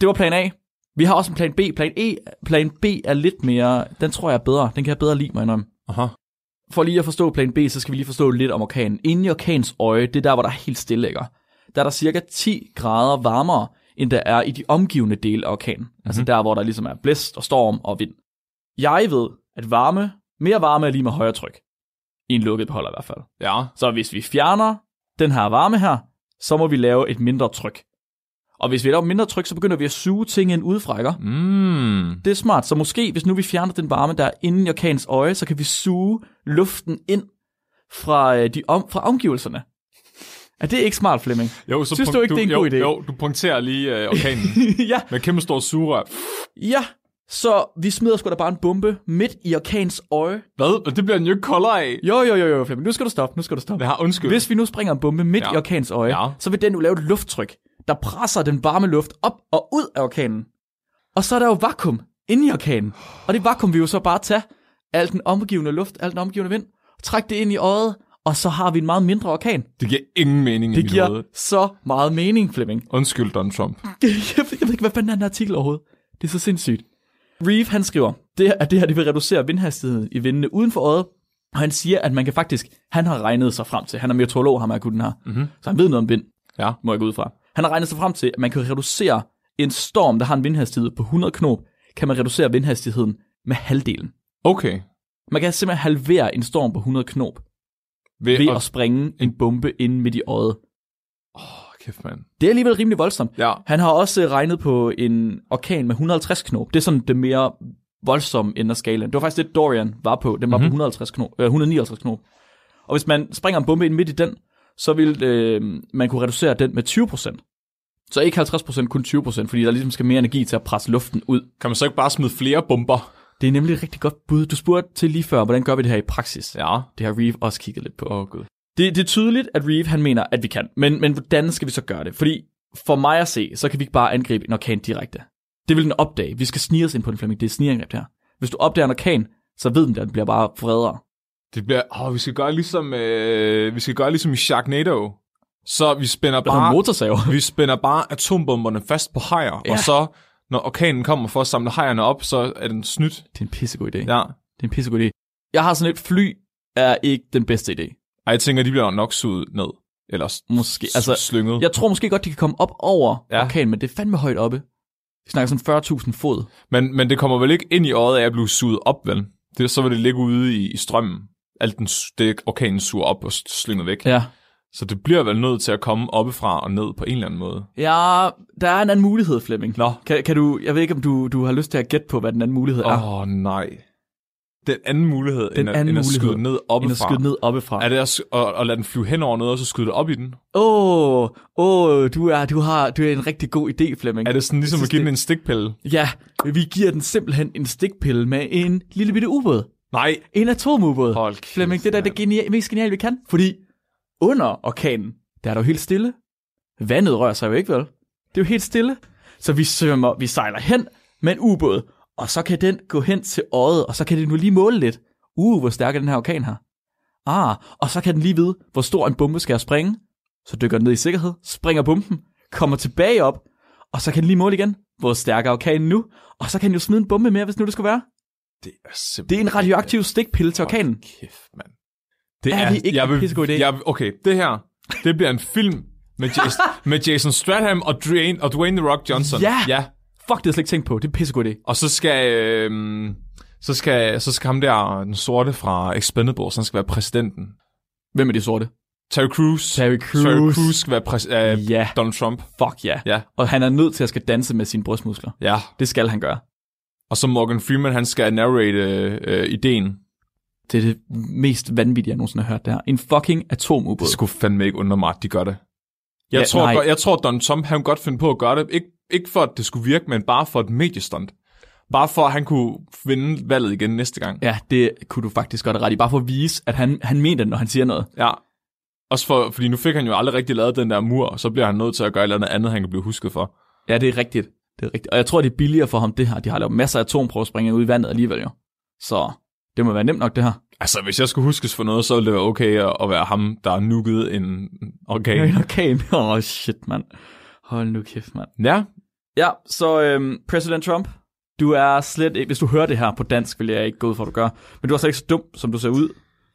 Speaker 3: Det var plan A. Vi har også en plan B. Plan, e, plan B er lidt mere, den tror jeg er bedre. Den kan jeg bedre lide mig om.
Speaker 4: Aha.
Speaker 3: For lige at forstå plan B, så skal vi lige forstå lidt om orkanen. Inden i orkanens øje, det er der, hvor der er helt stille, ikke? Der er der cirka 10 grader varmere, end der er i de omgivende dele af orkanen. Mm-hmm. Altså der, hvor der ligesom er blæst og storm og vind. Jeg ved, at varme, mere varme er lige med højere tryk. I en lukket beholder i hvert fald.
Speaker 4: Ja.
Speaker 3: Så hvis vi fjerner den her varme her, så må vi lave et mindre tryk. Og hvis vi laver mindre tryk, så begynder vi at suge ting ind udefra, ikke?
Speaker 4: Mm.
Speaker 3: Det er smart. Så måske, hvis nu vi fjerner den varme, der er inde i orkanens øje, så kan vi suge luften ind fra, øh, de om, fra omgivelserne. Er det ikke smart, Flemming?
Speaker 4: Jo, så
Speaker 3: Synes
Speaker 4: punkt-
Speaker 3: du ikke, det er en
Speaker 4: jo,
Speaker 3: god idé?
Speaker 4: Jo, du punkterer lige øh,
Speaker 3: [laughs]
Speaker 4: orkanen
Speaker 3: ja,
Speaker 4: med kæmpe stor sugerør.
Speaker 3: ja. Så vi smider sgu da bare en bombe midt i orkanens øje.
Speaker 4: Hvad? Og det bliver den jo ikke koldere af.
Speaker 3: Jo, jo, jo, jo, Flemming. Nu skal du stoppe, nu skal du stoppe.
Speaker 4: Det har undskyld.
Speaker 3: Hvis vi nu springer en bombe midt
Speaker 4: Ja.
Speaker 3: ja. i orkanens øje,
Speaker 4: Ja.
Speaker 3: ja. så vil den jo lave et lufttryk, der presser den varme luft op og ud af orkanen. Og så er der jo vakuum inde i orkanen. Og det vakuum vil jo så bare tage al den omgivende luft, al den omgivende vind, trække det ind i øjet, og så har vi en meget mindre orkan.
Speaker 4: Det giver ingen mening i
Speaker 3: Det
Speaker 4: mit hoved.
Speaker 3: giver så meget mening, Flemming.
Speaker 4: Undskyld, Donald Trump.
Speaker 3: jeg, ved, jeg ved ikke, hvad fanden er den artikel overhovedet. Det er så sindssygt. Reeve, han skriver, det, at det her det vil reducere vindhastigheden i vindene uden for øjet, og han siger, at man kan faktisk, han har regnet sig frem til, han er meteorolog, ham er gutten her, mm-hmm. så han ved noget om vind,
Speaker 4: Ja.
Speaker 3: må jeg gå ud fra. Han har regnet sig frem til, at man kan reducere en storm, der har en vindhastighed på 100 knop, kan man reducere vindhastigheden med halvdelen.
Speaker 4: Okay.
Speaker 3: Man kan simpelthen halvere en storm på 100 knop
Speaker 4: Ved,
Speaker 3: ved
Speaker 4: at-
Speaker 3: at springe en bombe ind midt i øjet.
Speaker 4: Åh, kæft, mand.
Speaker 3: Det er alligevel rimelig voldsomt.
Speaker 4: Ja.
Speaker 3: Han har også øh, regnet på en orkan med 150 knop. Det er sådan det mere voldsomme ende af skalaen. Det var faktisk det, Dorian var på. Den var mm-hmm. på 150 knop, øh, 159 knop. Og hvis man springer en bombe ind midt i den, så vil øh, man kunne reducere den med 20%. Så ikke 50%, kun 20%, fordi der ligesom skal mere energi til at presse luften ud.
Speaker 4: Kan man så ikke bare smide flere bomber?
Speaker 3: Det er nemlig et rigtig godt bud. Du spurgte til lige før, hvordan gør vi det her i praksis?
Speaker 4: Ja.
Speaker 3: Det har Reeve også kigget lidt på.
Speaker 4: Åh, oh, gud.
Speaker 3: Det, det er tydeligt, at Reeve han mener, at vi kan. Men, men hvordan skal vi så gøre det? Fordi for mig at se, så kan vi ikke bare angribe en orkan direkte. Det vil den opdage. Vi skal snige os ind på den Flemming. Det er et snigeangreb det her. Hvis du opdager en orkan, så ved den, at den bliver bare vredere.
Speaker 4: Det bliver... Åh, oh, vi skal gøre ligesom... Øh, vi skal gøre ligesom i Sharknado. Så vi spænder
Speaker 3: Der er
Speaker 4: bare...
Speaker 3: motorsaver. [laughs]
Speaker 4: Vi spænder bare atombomberne fast på hajer, ja.
Speaker 3: Ja.
Speaker 4: og så, når orkanen kommer for at samle hajerne op, så er den snydt.
Speaker 3: Det er en pissegod idé. Ja.
Speaker 4: Ja.
Speaker 3: Det er en pissegod idé. Jeg har sådan et fly er ikke den bedste idé.
Speaker 4: Ej, jeg tænker, de bliver nok suget ned. Eller s-
Speaker 3: Måske. Altså,
Speaker 4: s- slynget.
Speaker 3: jeg tror måske godt, de kan komme op over
Speaker 4: Ja.
Speaker 3: ja. orkanen, men det er fandme højt oppe. Vi snakker sådan 40.000 fod.
Speaker 4: Men, men det kommer vel ikke ind i øjet af at blive suget op, vel? Det, så vil det ligge ude i, i strømmen. Alt den, s- det orkanen suger op og s- slynger væk.
Speaker 3: Ja.
Speaker 4: Så det bliver vel nødt til at komme oppefra og ned på en eller anden måde.
Speaker 3: Ja, der er en anden mulighed, Flemming.
Speaker 4: Nå.
Speaker 3: Kan, kan du, jeg ved ikke, om du, du har lyst til at gætte på, hvad den anden mulighed er.
Speaker 4: Åh, oh, nej. Den anden mulighed, den end, at,
Speaker 3: anden
Speaker 4: end at
Speaker 3: mulighed,
Speaker 4: skyde den ned oppefra.
Speaker 3: end at skyde ned oppefra.
Speaker 4: Er det at, s- at, at lade den flyve hen over noget, og så skyde det op i den?
Speaker 3: Åh, åh, du er, du har, du er en rigtig god idé, Flemming.
Speaker 4: Er det sådan ligesom
Speaker 3: Jeg
Speaker 4: at give
Speaker 3: synes,
Speaker 4: den en stikpille?
Speaker 3: det- Ja, vi giver den simpelthen en stikpille med en lille bitte ubåd.
Speaker 4: Nej,
Speaker 3: En atomubåd.
Speaker 4: Hold kæft,
Speaker 3: Flemming, det der er det genial, mest geniale, vi kan. Fordi under orkanen, der er du helt stille. Vandet rører sig jo ikke, vel? Det er jo helt stille. Så vi svømmer, vi sejler hen med en ubåd, og så kan den gå hen til øjet, og så kan den nu lige måle lidt. Uh, hvor stærk er den her orkan her. Ah, og så kan den lige vide, hvor stor en bombe skal jeg springe. Så dykker den ned i sikkerhed, springer bomben, kommer tilbage op, og så kan den lige måle igen, hvor stærk er orkanen nu. Og så kan den jo smide en bombe mere, hvis nu det skulle være.
Speaker 4: det er
Speaker 3: Det
Speaker 4: simpelthen...
Speaker 3: er en radioaktiv stikpille til orkanen.
Speaker 4: Hold kæft, mand. Det
Speaker 3: Er det ikke
Speaker 4: jeg
Speaker 3: en
Speaker 4: vil-
Speaker 3: pissegod idé?
Speaker 4: Jeg, okay, det her, det bliver en film med Jason,
Speaker 3: [laughs]
Speaker 4: med Jason Stratham og Dwayne, og Dwayne The Rock Johnson.
Speaker 3: Ja!
Speaker 4: ja.
Speaker 3: Fuck, det har jeg slet ikke tænkt på. Det er en pissegod idé.
Speaker 4: Og så skal, øhm, så skal, så skal ham der, den sorte fra Expendables, han skal være præsidenten.
Speaker 3: Hvem er det sorte?
Speaker 4: Terry Crews.
Speaker 3: Terry Crews.
Speaker 4: Terry Crews skal være præs, øh,
Speaker 3: Ja.
Speaker 4: Donald Trump.
Speaker 3: Fuck ja.
Speaker 4: Ja.
Speaker 3: Og han er nødt til at skal danse med sine brystmuskler.
Speaker 4: Ja.
Speaker 3: Det skal han gøre.
Speaker 4: Og så Morgan Freeman, han skal narrate øh, øh, ideen.
Speaker 3: Det er det mest vanvittige, jeg nogensinde har hørt der. En fucking atomubåd.
Speaker 4: Det skulle fandme ikke undre mig, at de gør det. Jeg,
Speaker 3: Ja,
Speaker 4: ja, tror,
Speaker 3: nej.
Speaker 4: godt, jeg tror, Donald Trump han kunne godt finde på at gøre det. Ikke, ikke for, at det skulle virke, men bare for et mediestunt. Bare for, at han kunne vinde valget igen næste gang.
Speaker 3: Ja, det kunne du faktisk godt have ret i. Bare for at vise, at han, han mener det, når han siger noget.
Speaker 4: Ja. Også for, fordi nu fik han jo aldrig rigtig lavet den der mur, og så bliver han nødt til at gøre et eller andet andet, han kan blive husket for.
Speaker 3: Ja, det er rigtigt. Det er rigtigt. Og jeg tror, det er billigere for ham, det her. De har lavet masser af atomprøvesprængninger ud i vandet alligevel jo. Så det må være nemt nok, det her.
Speaker 4: Altså, hvis jeg skulle huskes for noget, så ville det være okay at, at være ham, der nukkede en orkan.
Speaker 3: En [laughs] orkan. Åh, oh, shit, mand. Hold nu kæft, mand.
Speaker 4: Ja,
Speaker 3: Ja, så øhm, præsident Trump, du er slet ikke, hvis du hører det her på dansk, vil jeg ikke gå ud for, at du gør, men du er slet ikke så dum, som du ser ud.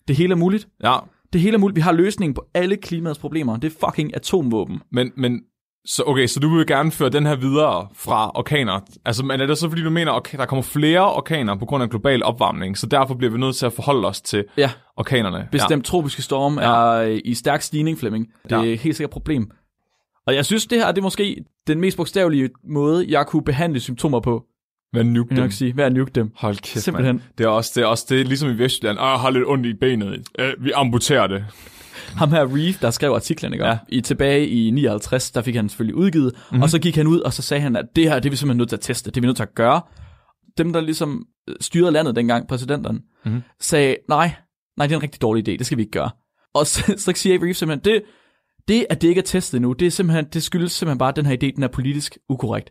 Speaker 3: Det hele er muligt.
Speaker 4: ja.
Speaker 3: Det hele er muligt. Vi har løsningen på alle klimaets problemer. Det er fucking atomvåben.
Speaker 4: Men, men Så okay, så du vil gerne føre den her videre fra orkaner. Altså, men er det så, fordi du mener, at orka- der kommer flere orkaner på grund af global opvarmning, så derfor bliver vi nødt til at forholde os til
Speaker 3: Ja,
Speaker 4: orkanerne?
Speaker 3: bestemt ja. tropiske storm er øh, i stærk stigning, Flemming. Det er
Speaker 4: Ja.
Speaker 3: helt sikkert et problem. Og jeg synes, det her det er måske den mest bogstavelige måde, jeg kunne behandle symptomer på.
Speaker 4: Ja. Hvad nuke
Speaker 3: Vil jeg
Speaker 4: dem?
Speaker 3: nok sige, ved at nuke dem.
Speaker 4: Hold kæft,
Speaker 3: Simpelthen.
Speaker 4: Mand. Det er også det, er også det er ligesom i Vestjylland. Åh, jeg har lidt ondt i benet. Øh, vi amputerer det.
Speaker 3: Ham her Reeve, der skrev artiklen, ikke? Ja. I, tilbage i 59, der fik han selvfølgelig udgivet,
Speaker 4: Mhm.
Speaker 3: mm-hmm. og så gik han ud, og så sagde han, at det her, det er vi simpelthen nødt til at teste, det er vi nødt til at gøre. Dem, der ligesom øh, styrede landet dengang, præsidenten,
Speaker 4: Mhm.
Speaker 3: mm-hmm. sagde, nej, nej, det er en rigtig dårlig idé, det skal vi ikke gøre. Og så, [laughs] så siger Reeve simpelthen, det, det, at det ikke er testet nu, det, er simpelthen, det skyldes simpelthen bare, at den her idé, den er politisk ukorrekt.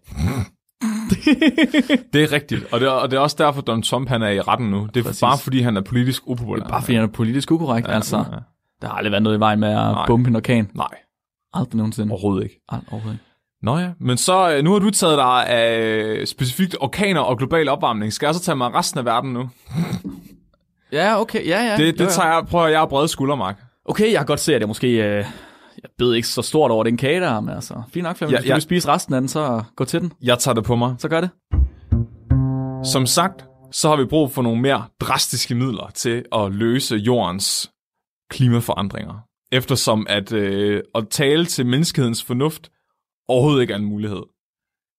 Speaker 4: Det er rigtigt. Og det er, og det er også derfor, Donald Trump han er i retten nu. Det er Præcis. bare fordi, han er politisk upopulær.
Speaker 3: Bare fordi den er politisk ukorrekt, ja, altså. Ja. Der har aldrig været noget i vejen med at bombe en orkan.
Speaker 4: Nej,
Speaker 3: Aldrig nogensinde.
Speaker 4: overhovedet ikke.
Speaker 3: Aldrig, overhovedet ikke.
Speaker 4: Nå ja, men så øh, nu har du taget dig af øh, specifikt orkaner og global opvarmning. Skal jeg så tage mig af resten af verden nu?
Speaker 3: Ja, okay, ja, ja.
Speaker 4: Det, det
Speaker 3: Jo, jo.
Speaker 4: tager jeg, prøver jeg at brede skuldermark.
Speaker 3: Okay, jeg kan godt se, at jeg måske... Øh, jeg bed ikke så stort over den kage der, men altså... Fint nok, Flemming. Ja, Hvis
Speaker 4: Ja,
Speaker 3: du
Speaker 4: ja.
Speaker 3: vil spise resten af den, så gå til den.
Speaker 4: Jeg tager det på mig.
Speaker 3: Så gør det.
Speaker 4: Som sagt, så har vi brug for nogle mere drastiske midler til at løse jordens klimaforandringer. Eftersom at, øh, at tale til menneskehedens fornuft overhovedet ikke er en mulighed.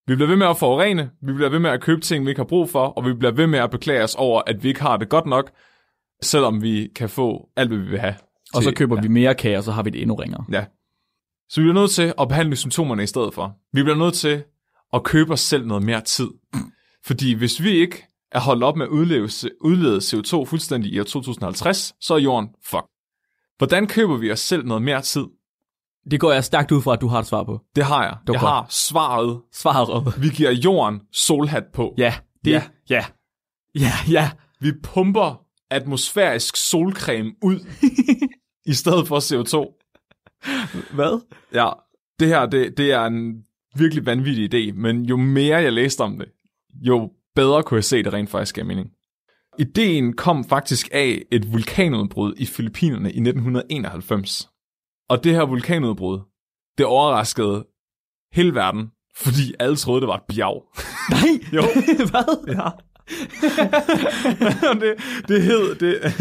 Speaker 4: Vi bliver ved med at forurene, vi bliver ved med at købe ting, vi ikke har brug for, og vi bliver ved med at beklage os over, at vi ikke har det godt nok, selvom vi kan få alt, hvad vi vil have.
Speaker 3: Og så
Speaker 4: til-
Speaker 3: køber vi mere kage, og så har vi det endnu ringere.
Speaker 4: Ja. Så vi bliver nødt til at behandle symptomerne i stedet for. Vi bliver nødt til at købe os selv noget mere tid. Fordi hvis vi ikke er holdt op med at udleve, udlede CO2 fuldstændig i år 2050, så er jorden fuck. Hvordan køber vi os selv noget mere tid?
Speaker 3: Det går jeg stærkt ud fra, at du har et svar på.
Speaker 4: Det har jeg.
Speaker 3: var
Speaker 4: jeg
Speaker 3: godt.
Speaker 4: har svaret.
Speaker 3: Svaret.
Speaker 4: Vi giver jorden solhat på.
Speaker 3: Ja. Det,
Speaker 4: Ja.
Speaker 3: ja. Ja, ja.
Speaker 4: Vi pumper atmosfærisk solcreme
Speaker 3: [laughs]
Speaker 4: ud, i stedet for CO2.
Speaker 3: Hvad?
Speaker 4: Ja, det her, det, det er en virkelig vanvittig idé, men jo mere jeg læste om det, jo bedre kunne jeg se, det rent faktisk gav mening. Ideen kom faktisk af et vulkanudbrud i Filippinerne i 1991. Og det her vulkanudbrud, det overraskede hele verden, fordi alle troede, det var et bjerg.
Speaker 3: Nej.
Speaker 4: [laughs] Jo.
Speaker 3: Hvad?
Speaker 4: Ja. [laughs] det, det, hed, det, [laughs]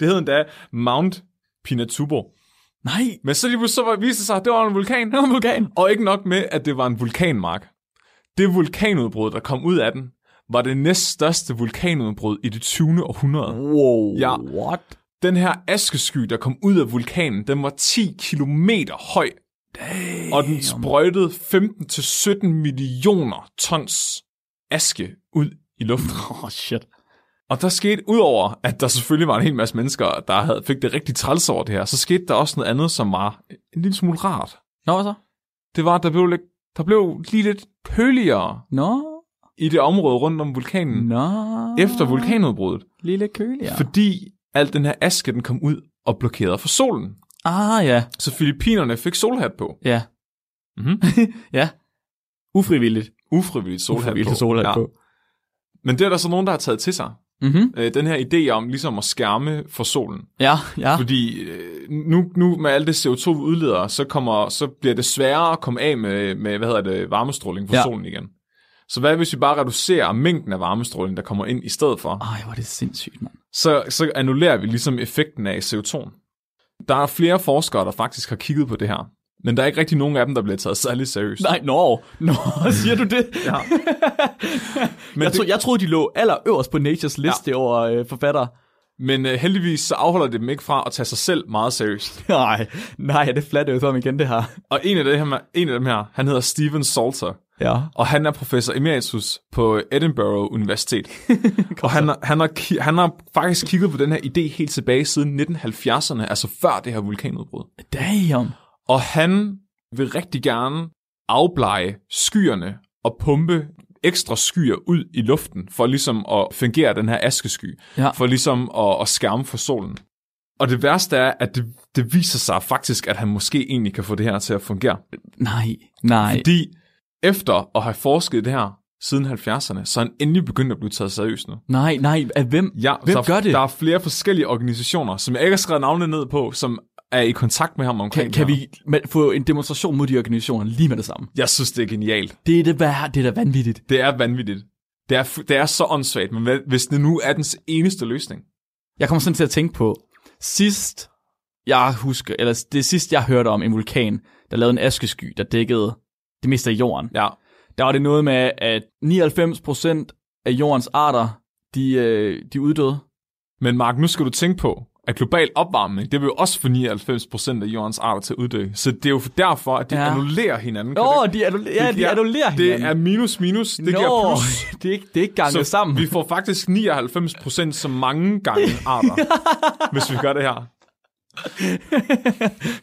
Speaker 4: det hed endda Mount Pinatubo.
Speaker 3: Nej.
Speaker 4: Men så lige pludselig så var- viste det sig, at det var en vulkan.
Speaker 3: Det var en vulkan.
Speaker 4: Og ikke nok med, at det var en vulkanmark. Det vulkanudbrud, der kom ud af den, var det næststørste vulkanudbrud i det 20. århundrede.
Speaker 3: Wow.
Speaker 4: Ja.
Speaker 3: What?
Speaker 4: Den her askesky, der kom ud af vulkanen, den var 10 kilometer høj. Damn. Og den sprøjtede 15-17 millioner tons aske ud i luften.
Speaker 3: Oh, shit.
Speaker 4: Og der skete, udover at der selvfølgelig var en hel masse mennesker, der havde, fik det rigtig træls over det her, så skete der også noget andet, som var en lille smule rart.
Speaker 3: Nå, hvad så?
Speaker 4: Det var, at der blev, lidt- der blev lige lidt køligere
Speaker 3: Nå.
Speaker 4: i det område rundt om vulkanen
Speaker 3: Nå.
Speaker 4: Hmm. efter vulkanudbruddet,
Speaker 3: Lille køligere.
Speaker 4: ja. fordi al den her aske, den kom ud og blokerede for solen.
Speaker 3: Ah, ja.
Speaker 4: Så Filippinerne fik solhat på.
Speaker 3: Ja.
Speaker 4: Mhm.
Speaker 3: [laughs] ja. Ufrivilligt.
Speaker 4: Ufrivilligt solhat
Speaker 3: Ufrivilligt
Speaker 4: på.
Speaker 3: solhat på.
Speaker 4: Men det er der så nogen, der har taget til sig.
Speaker 3: Mhm.
Speaker 4: Øh, den her idé om ligesom at skærme for solen.
Speaker 3: Ja, ja.
Speaker 4: Fordi øh, nu, nu med alt det CO2, vi udleder, så, kommer, så bliver det sværere at komme af med, med hvad hedder det, varmestråling fra
Speaker 3: Ja.
Speaker 4: ja. solen igen. Så hvad hvis vi bare reducerer mængden af varmestråling, der kommer ind i stedet for?
Speaker 3: Ej, hvor er det sindssygt, mand.
Speaker 4: så, så annullerer vi ligesom effekten af CO2. Der er flere forskere, der faktisk har kigget på det her, men der er ikke rigtig nogen af dem, der bliver taget særlig
Speaker 3: [laughs]
Speaker 4: seriøst.
Speaker 3: Nej, nå, nå, siger du det? [laughs] ja. Men jeg,
Speaker 4: det-
Speaker 3: tro, jeg troede, de lå allerøverst på Natures liste ja. over øh, forfattere.
Speaker 4: Men øh, heldigvis så afholder det dem ikke fra at tage sig selv meget seriøst.
Speaker 3: Nej, nej, det er flat earth om igen, det her.
Speaker 4: Og en af, det her, en af dem her, han hedder Steven Salter,
Speaker 3: Ja.
Speaker 4: og han er professor emeritus på Edinburgh Universitet. og han, har- han, har, ki- han har faktisk kigget på den her idé helt tilbage siden 1970'erne, altså før det her vulkanudbrud.
Speaker 3: Damn.
Speaker 4: Og han vil rigtig gerne afblege skyerne og pumpe ekstra skyer ud i luften, for ligesom at fungere den her askesky,
Speaker 3: Ja.
Speaker 4: for ligesom at, at skærme for solen. Og det værste er, at det, det viser sig faktisk, at han måske egentlig kan få det her til at fungere.
Speaker 3: Nej, nej.
Speaker 4: Fordi efter at have forsket i det her siden 70'erne, så er han endelig begyndt at blive taget seriøst nu.
Speaker 3: Nej, nej, af hvem?
Speaker 4: Ja,
Speaker 3: hvem
Speaker 4: så
Speaker 3: gør det?
Speaker 4: Der er flere forskellige organisationer, som jeg ikke har skrevet navnene ned på, som er i kontakt med ham omkring
Speaker 3: Kan, kan
Speaker 4: det her.
Speaker 3: vi ma- få en demonstration mod de organisationer lige med det samme?
Speaker 4: Jeg synes, det er genialt.
Speaker 3: Det er det, hvad, det er da vanvittigt.
Speaker 4: Det er vanvittigt. Det er, fu- det er så åndssvagt, men hvad- hvis det nu er dens eneste løsning.
Speaker 3: Jeg kommer sådan til at tænke på, sidst jeg husker, eller det sidste jeg hørte om en vulkan, der lavede en askesky, der dækkede det meste af jorden.
Speaker 4: Ja,
Speaker 3: Der var det noget med, at 99% af jordens arter, de, øh, de er uddøde.
Speaker 4: Men Mark, nu skal du tænke på, at global opvarmning, det vil jo også få 99% af jordens arter til at uddø. Så det er jo derfor, at de
Speaker 3: Ja.
Speaker 4: ja. annullerer hinanden. Kan
Speaker 3: Nå,
Speaker 4: det-
Speaker 3: de, annul- ja, de
Speaker 4: giver-
Speaker 3: annullerer hinanden.
Speaker 4: Det er minus minus, det giver
Speaker 3: Nå, [laughs]
Speaker 4: plus.
Speaker 3: det er ikke, det er ikke ganget så sammen.
Speaker 4: vi får faktisk 99% så
Speaker 3: [laughs]
Speaker 4: mange gange arter, hvis vi gør det her.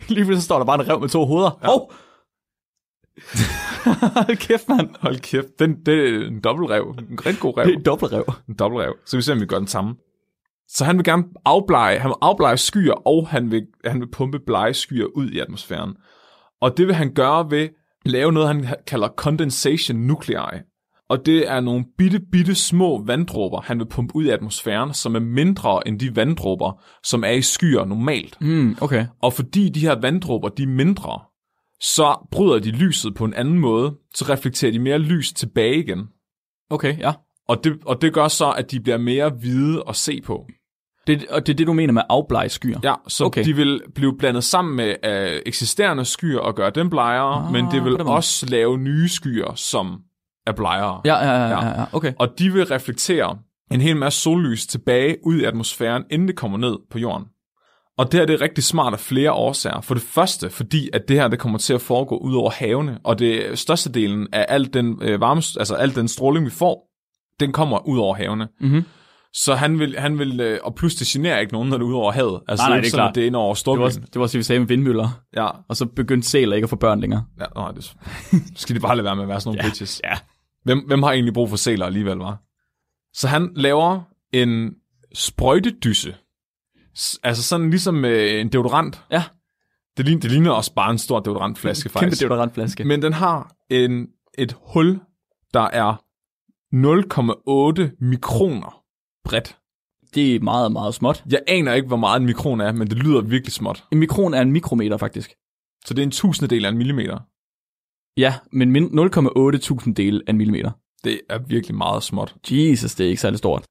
Speaker 3: Lige pludselig så står der bare en rev med to hoveder. Ja. Hov! [laughs] Hold kæft, mand.
Speaker 4: Hold kæft, den, det er en dobbeltrev. En rigtig god rev.
Speaker 3: Det er en dobbeltrev.
Speaker 4: en dobbeltrev. Så vi ser, om vi gør den samme. Så han vil gerne afblege, han vil afblege skyer, og han vil, han vil pumpe blege skyer ud i atmosfæren. Og det vil han gøre ved at lave noget, han ha- kalder condensation nuclei. Og det er nogle bitte, bitte små vanddråber, han vil pumpe ud i atmosfæren, som er mindre end de vanddråber, som er i skyer normalt.
Speaker 3: Mm, okay.
Speaker 4: Og fordi de her vanddråber, de er mindre, så bryder de lyset på en anden måde, så reflekterer de mere lys tilbage igen.
Speaker 3: Okay, ja.
Speaker 4: Og det, og det gør så, at de bliver mere hvide at se på.
Speaker 3: Det, og det er det, du mener med afblege skyer.
Speaker 4: Ja, så
Speaker 3: Okay.
Speaker 4: okay. de vil blive blandet sammen med øh, eksisterende skyer og gøre dem blegere,
Speaker 3: Ah,
Speaker 4: ah, men det
Speaker 3: på
Speaker 4: vil
Speaker 3: den måde.
Speaker 4: også lave nye skyer, som er blegere.
Speaker 3: Ja, ja, ja, ja, ja. Okay.
Speaker 4: Og de vil reflektere en hel masse sollys tilbage ud i atmosfæren, inden det kommer ned på jorden. Og det her det er rigtig smart af flere årsager. For det første, fordi at det her det kommer til at foregå ud over havene, og det størstedelen af al den, øh, varme, altså al den stråling, vi får, den kommer ud over havene.
Speaker 3: Mhm.
Speaker 4: Så han vil, han vil øh, og plus det generer ikke nogen, når det er ud over havet. Altså,
Speaker 3: Nej, nej, det er
Speaker 4: ikke sådan,
Speaker 3: klart.
Speaker 4: at det er ind over
Speaker 3: Det var,
Speaker 4: Storbritannien.
Speaker 3: det var også, det, vi sagde med vindmøller.
Speaker 4: Ja,
Speaker 3: Og så begyndte sæler ikke at få børn længere.
Speaker 4: ja nej, det skal de bare lade være med at være sådan nogle bitches.
Speaker 3: [laughs] Ja.
Speaker 4: Hvem, hvem har egentlig brug for sæler alligevel, var? Så han laver en sprøjtedysse. S- Altså sådan ligesom øh, en deodorant.
Speaker 3: Ja.
Speaker 4: Det ligner, det ligner også bare en stor deodorantflaske,
Speaker 3: Kæmpe
Speaker 4: faktisk.
Speaker 3: deodorantflaske.
Speaker 4: Men den har en, et hul, der er 0,8 mikroner bredt.
Speaker 3: Det er meget, meget småt.
Speaker 4: Jeg aner ikke, hvor meget en mikron er, men det lyder virkelig småt.
Speaker 3: En mikron er en mikrometer, faktisk.
Speaker 4: Så det er en tusindedel af en millimeter.
Speaker 3: Ja, men min- 0,8 tusindel af en millimeter.
Speaker 4: Det er virkelig meget småt.
Speaker 3: Jesus, det er ikke særlig stort.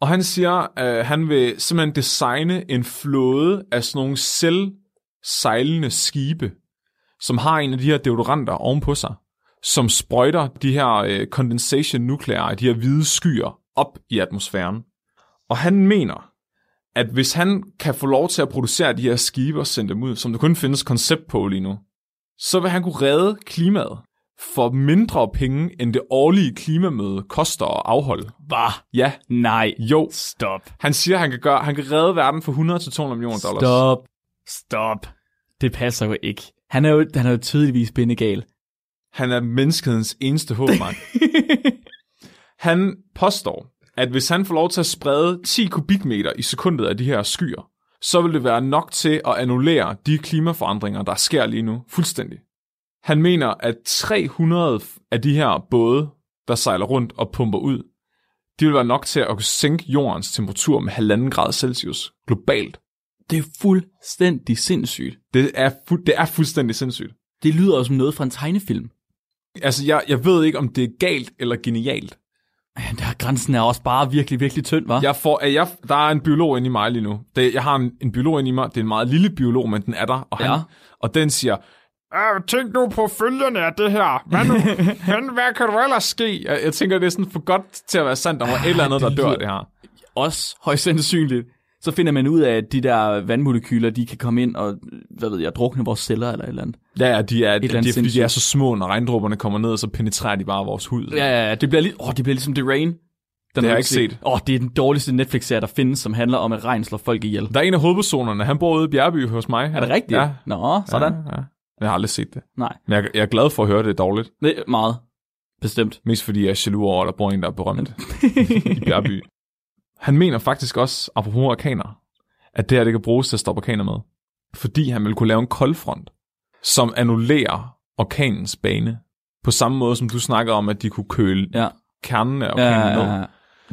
Speaker 4: Og han siger, øh, han vil simpelthen designe en flåde af sådan nogle selv sejlende skibe, som har en af de her deodoranter ovenpå sig, som sprøjter de her øh, condensation nuclei, de her hvide skyer, op i atmosfæren. Og han mener, at hvis han kan få lov til at producere de her skibe og sende dem ud, som der kun findes koncept på lige nu, så vil han kunne redde klimaet for mindre penge, end det årlige klimamøde koster at afholde.
Speaker 3: Bah,
Speaker 4: Ja,
Speaker 3: nej.
Speaker 4: jo,
Speaker 3: Stop.
Speaker 4: han siger, han kan, gøre, han kan redde verden for 100 til 200 millioner dollars.
Speaker 3: Stop. Stop. Det passer jo ikke. Han er jo, han er jo tydeligvis bindegal.
Speaker 4: Han er menneskehedens eneste håb, Mark. han påstår, at hvis han får lov til at sprede 10 kubikmeter i sekundet af de her skyer, så vil det være nok til at annullere de klimaforandringer, der sker lige nu fuldstændig. Han mener, at 300 af de her både, der sejler rundt og pumper ud, de vil være nok til at kunne sænke jordens temperatur med 1,5 grad Celsius globalt.
Speaker 3: det er fuldstændig sindssygt.
Speaker 4: Det er, fu- det er fuldstændig sindssygt.
Speaker 3: Det lyder jo som noget fra en tegnefilm.
Speaker 4: Altså, jeg, jeg ved ikke, om det er galt eller genialt.
Speaker 3: Ja, der grænsen er også bare virkelig, virkelig tynd, var.
Speaker 4: Jeg får, at jeg, der er en biolog inde i mig lige nu. Det, jeg har en, en biolog inde i mig. Det er en meget lille biolog, men den er der. Og, han,
Speaker 3: Ja.
Speaker 4: og den siger, "Øh, tænk nu på følgerne af det her.
Speaker 3: [laughs]
Speaker 4: Hvad, nu, Men hvad kan der ellers ske? Jeg, jeg tænker, det er sådan for godt til at være sandt. Der var et eller andet, der
Speaker 3: det
Speaker 4: dør
Speaker 3: lyder-
Speaker 4: af det her.
Speaker 3: Også højst sandsynligt. Så finder man ud af, at de der vandmolekyler, de kan komme ind og, hvad ved jeg, drukne vores celler eller et eller andet.
Speaker 4: Ja, ja, de er, de,
Speaker 3: eller andet
Speaker 4: er, fordi de
Speaker 3: sindssygt.
Speaker 4: er så små, når regndråberne kommer ned, og så penetrerer de bare vores hud.
Speaker 3: Ja, ja, ja. Det bliver, lige, åh, det bliver ligesom The Rain. Den
Speaker 4: har jeg
Speaker 3: du
Speaker 4: ikke set.
Speaker 3: Åh, det er den dårligste Netflix-serie, der findes, som handler om, at regn slår folk ihjel.
Speaker 4: Der er en af hovedpersonerne, han bor ude i Bjergby hos mig.
Speaker 3: Er det rigtigt?
Speaker 4: Ja.
Speaker 3: Nå, sådan.
Speaker 4: Ja, ja. Jeg har aldrig set det.
Speaker 3: Nej,
Speaker 4: Men jeg, jeg er glad for at høre det er dårligt.
Speaker 3: det er meget. [laughs] Bestemt.
Speaker 4: Mest fordi jeg er jaloux over, at der bor en, der er berømt
Speaker 3: [laughs]
Speaker 4: i Bjergby. Han mener faktisk også, apropos orkaner, at det her det kan bruges til at stoppe orkaner med. Fordi han vil kunne lave en koldfront, som annullerer orkanens bane. På samme måde, som du snakkede om, at de kunne køle ja.
Speaker 3: ja.
Speaker 4: kernen af
Speaker 3: Ja,
Speaker 4: orkanen
Speaker 3: ja, ja,
Speaker 4: ned.
Speaker 3: ja.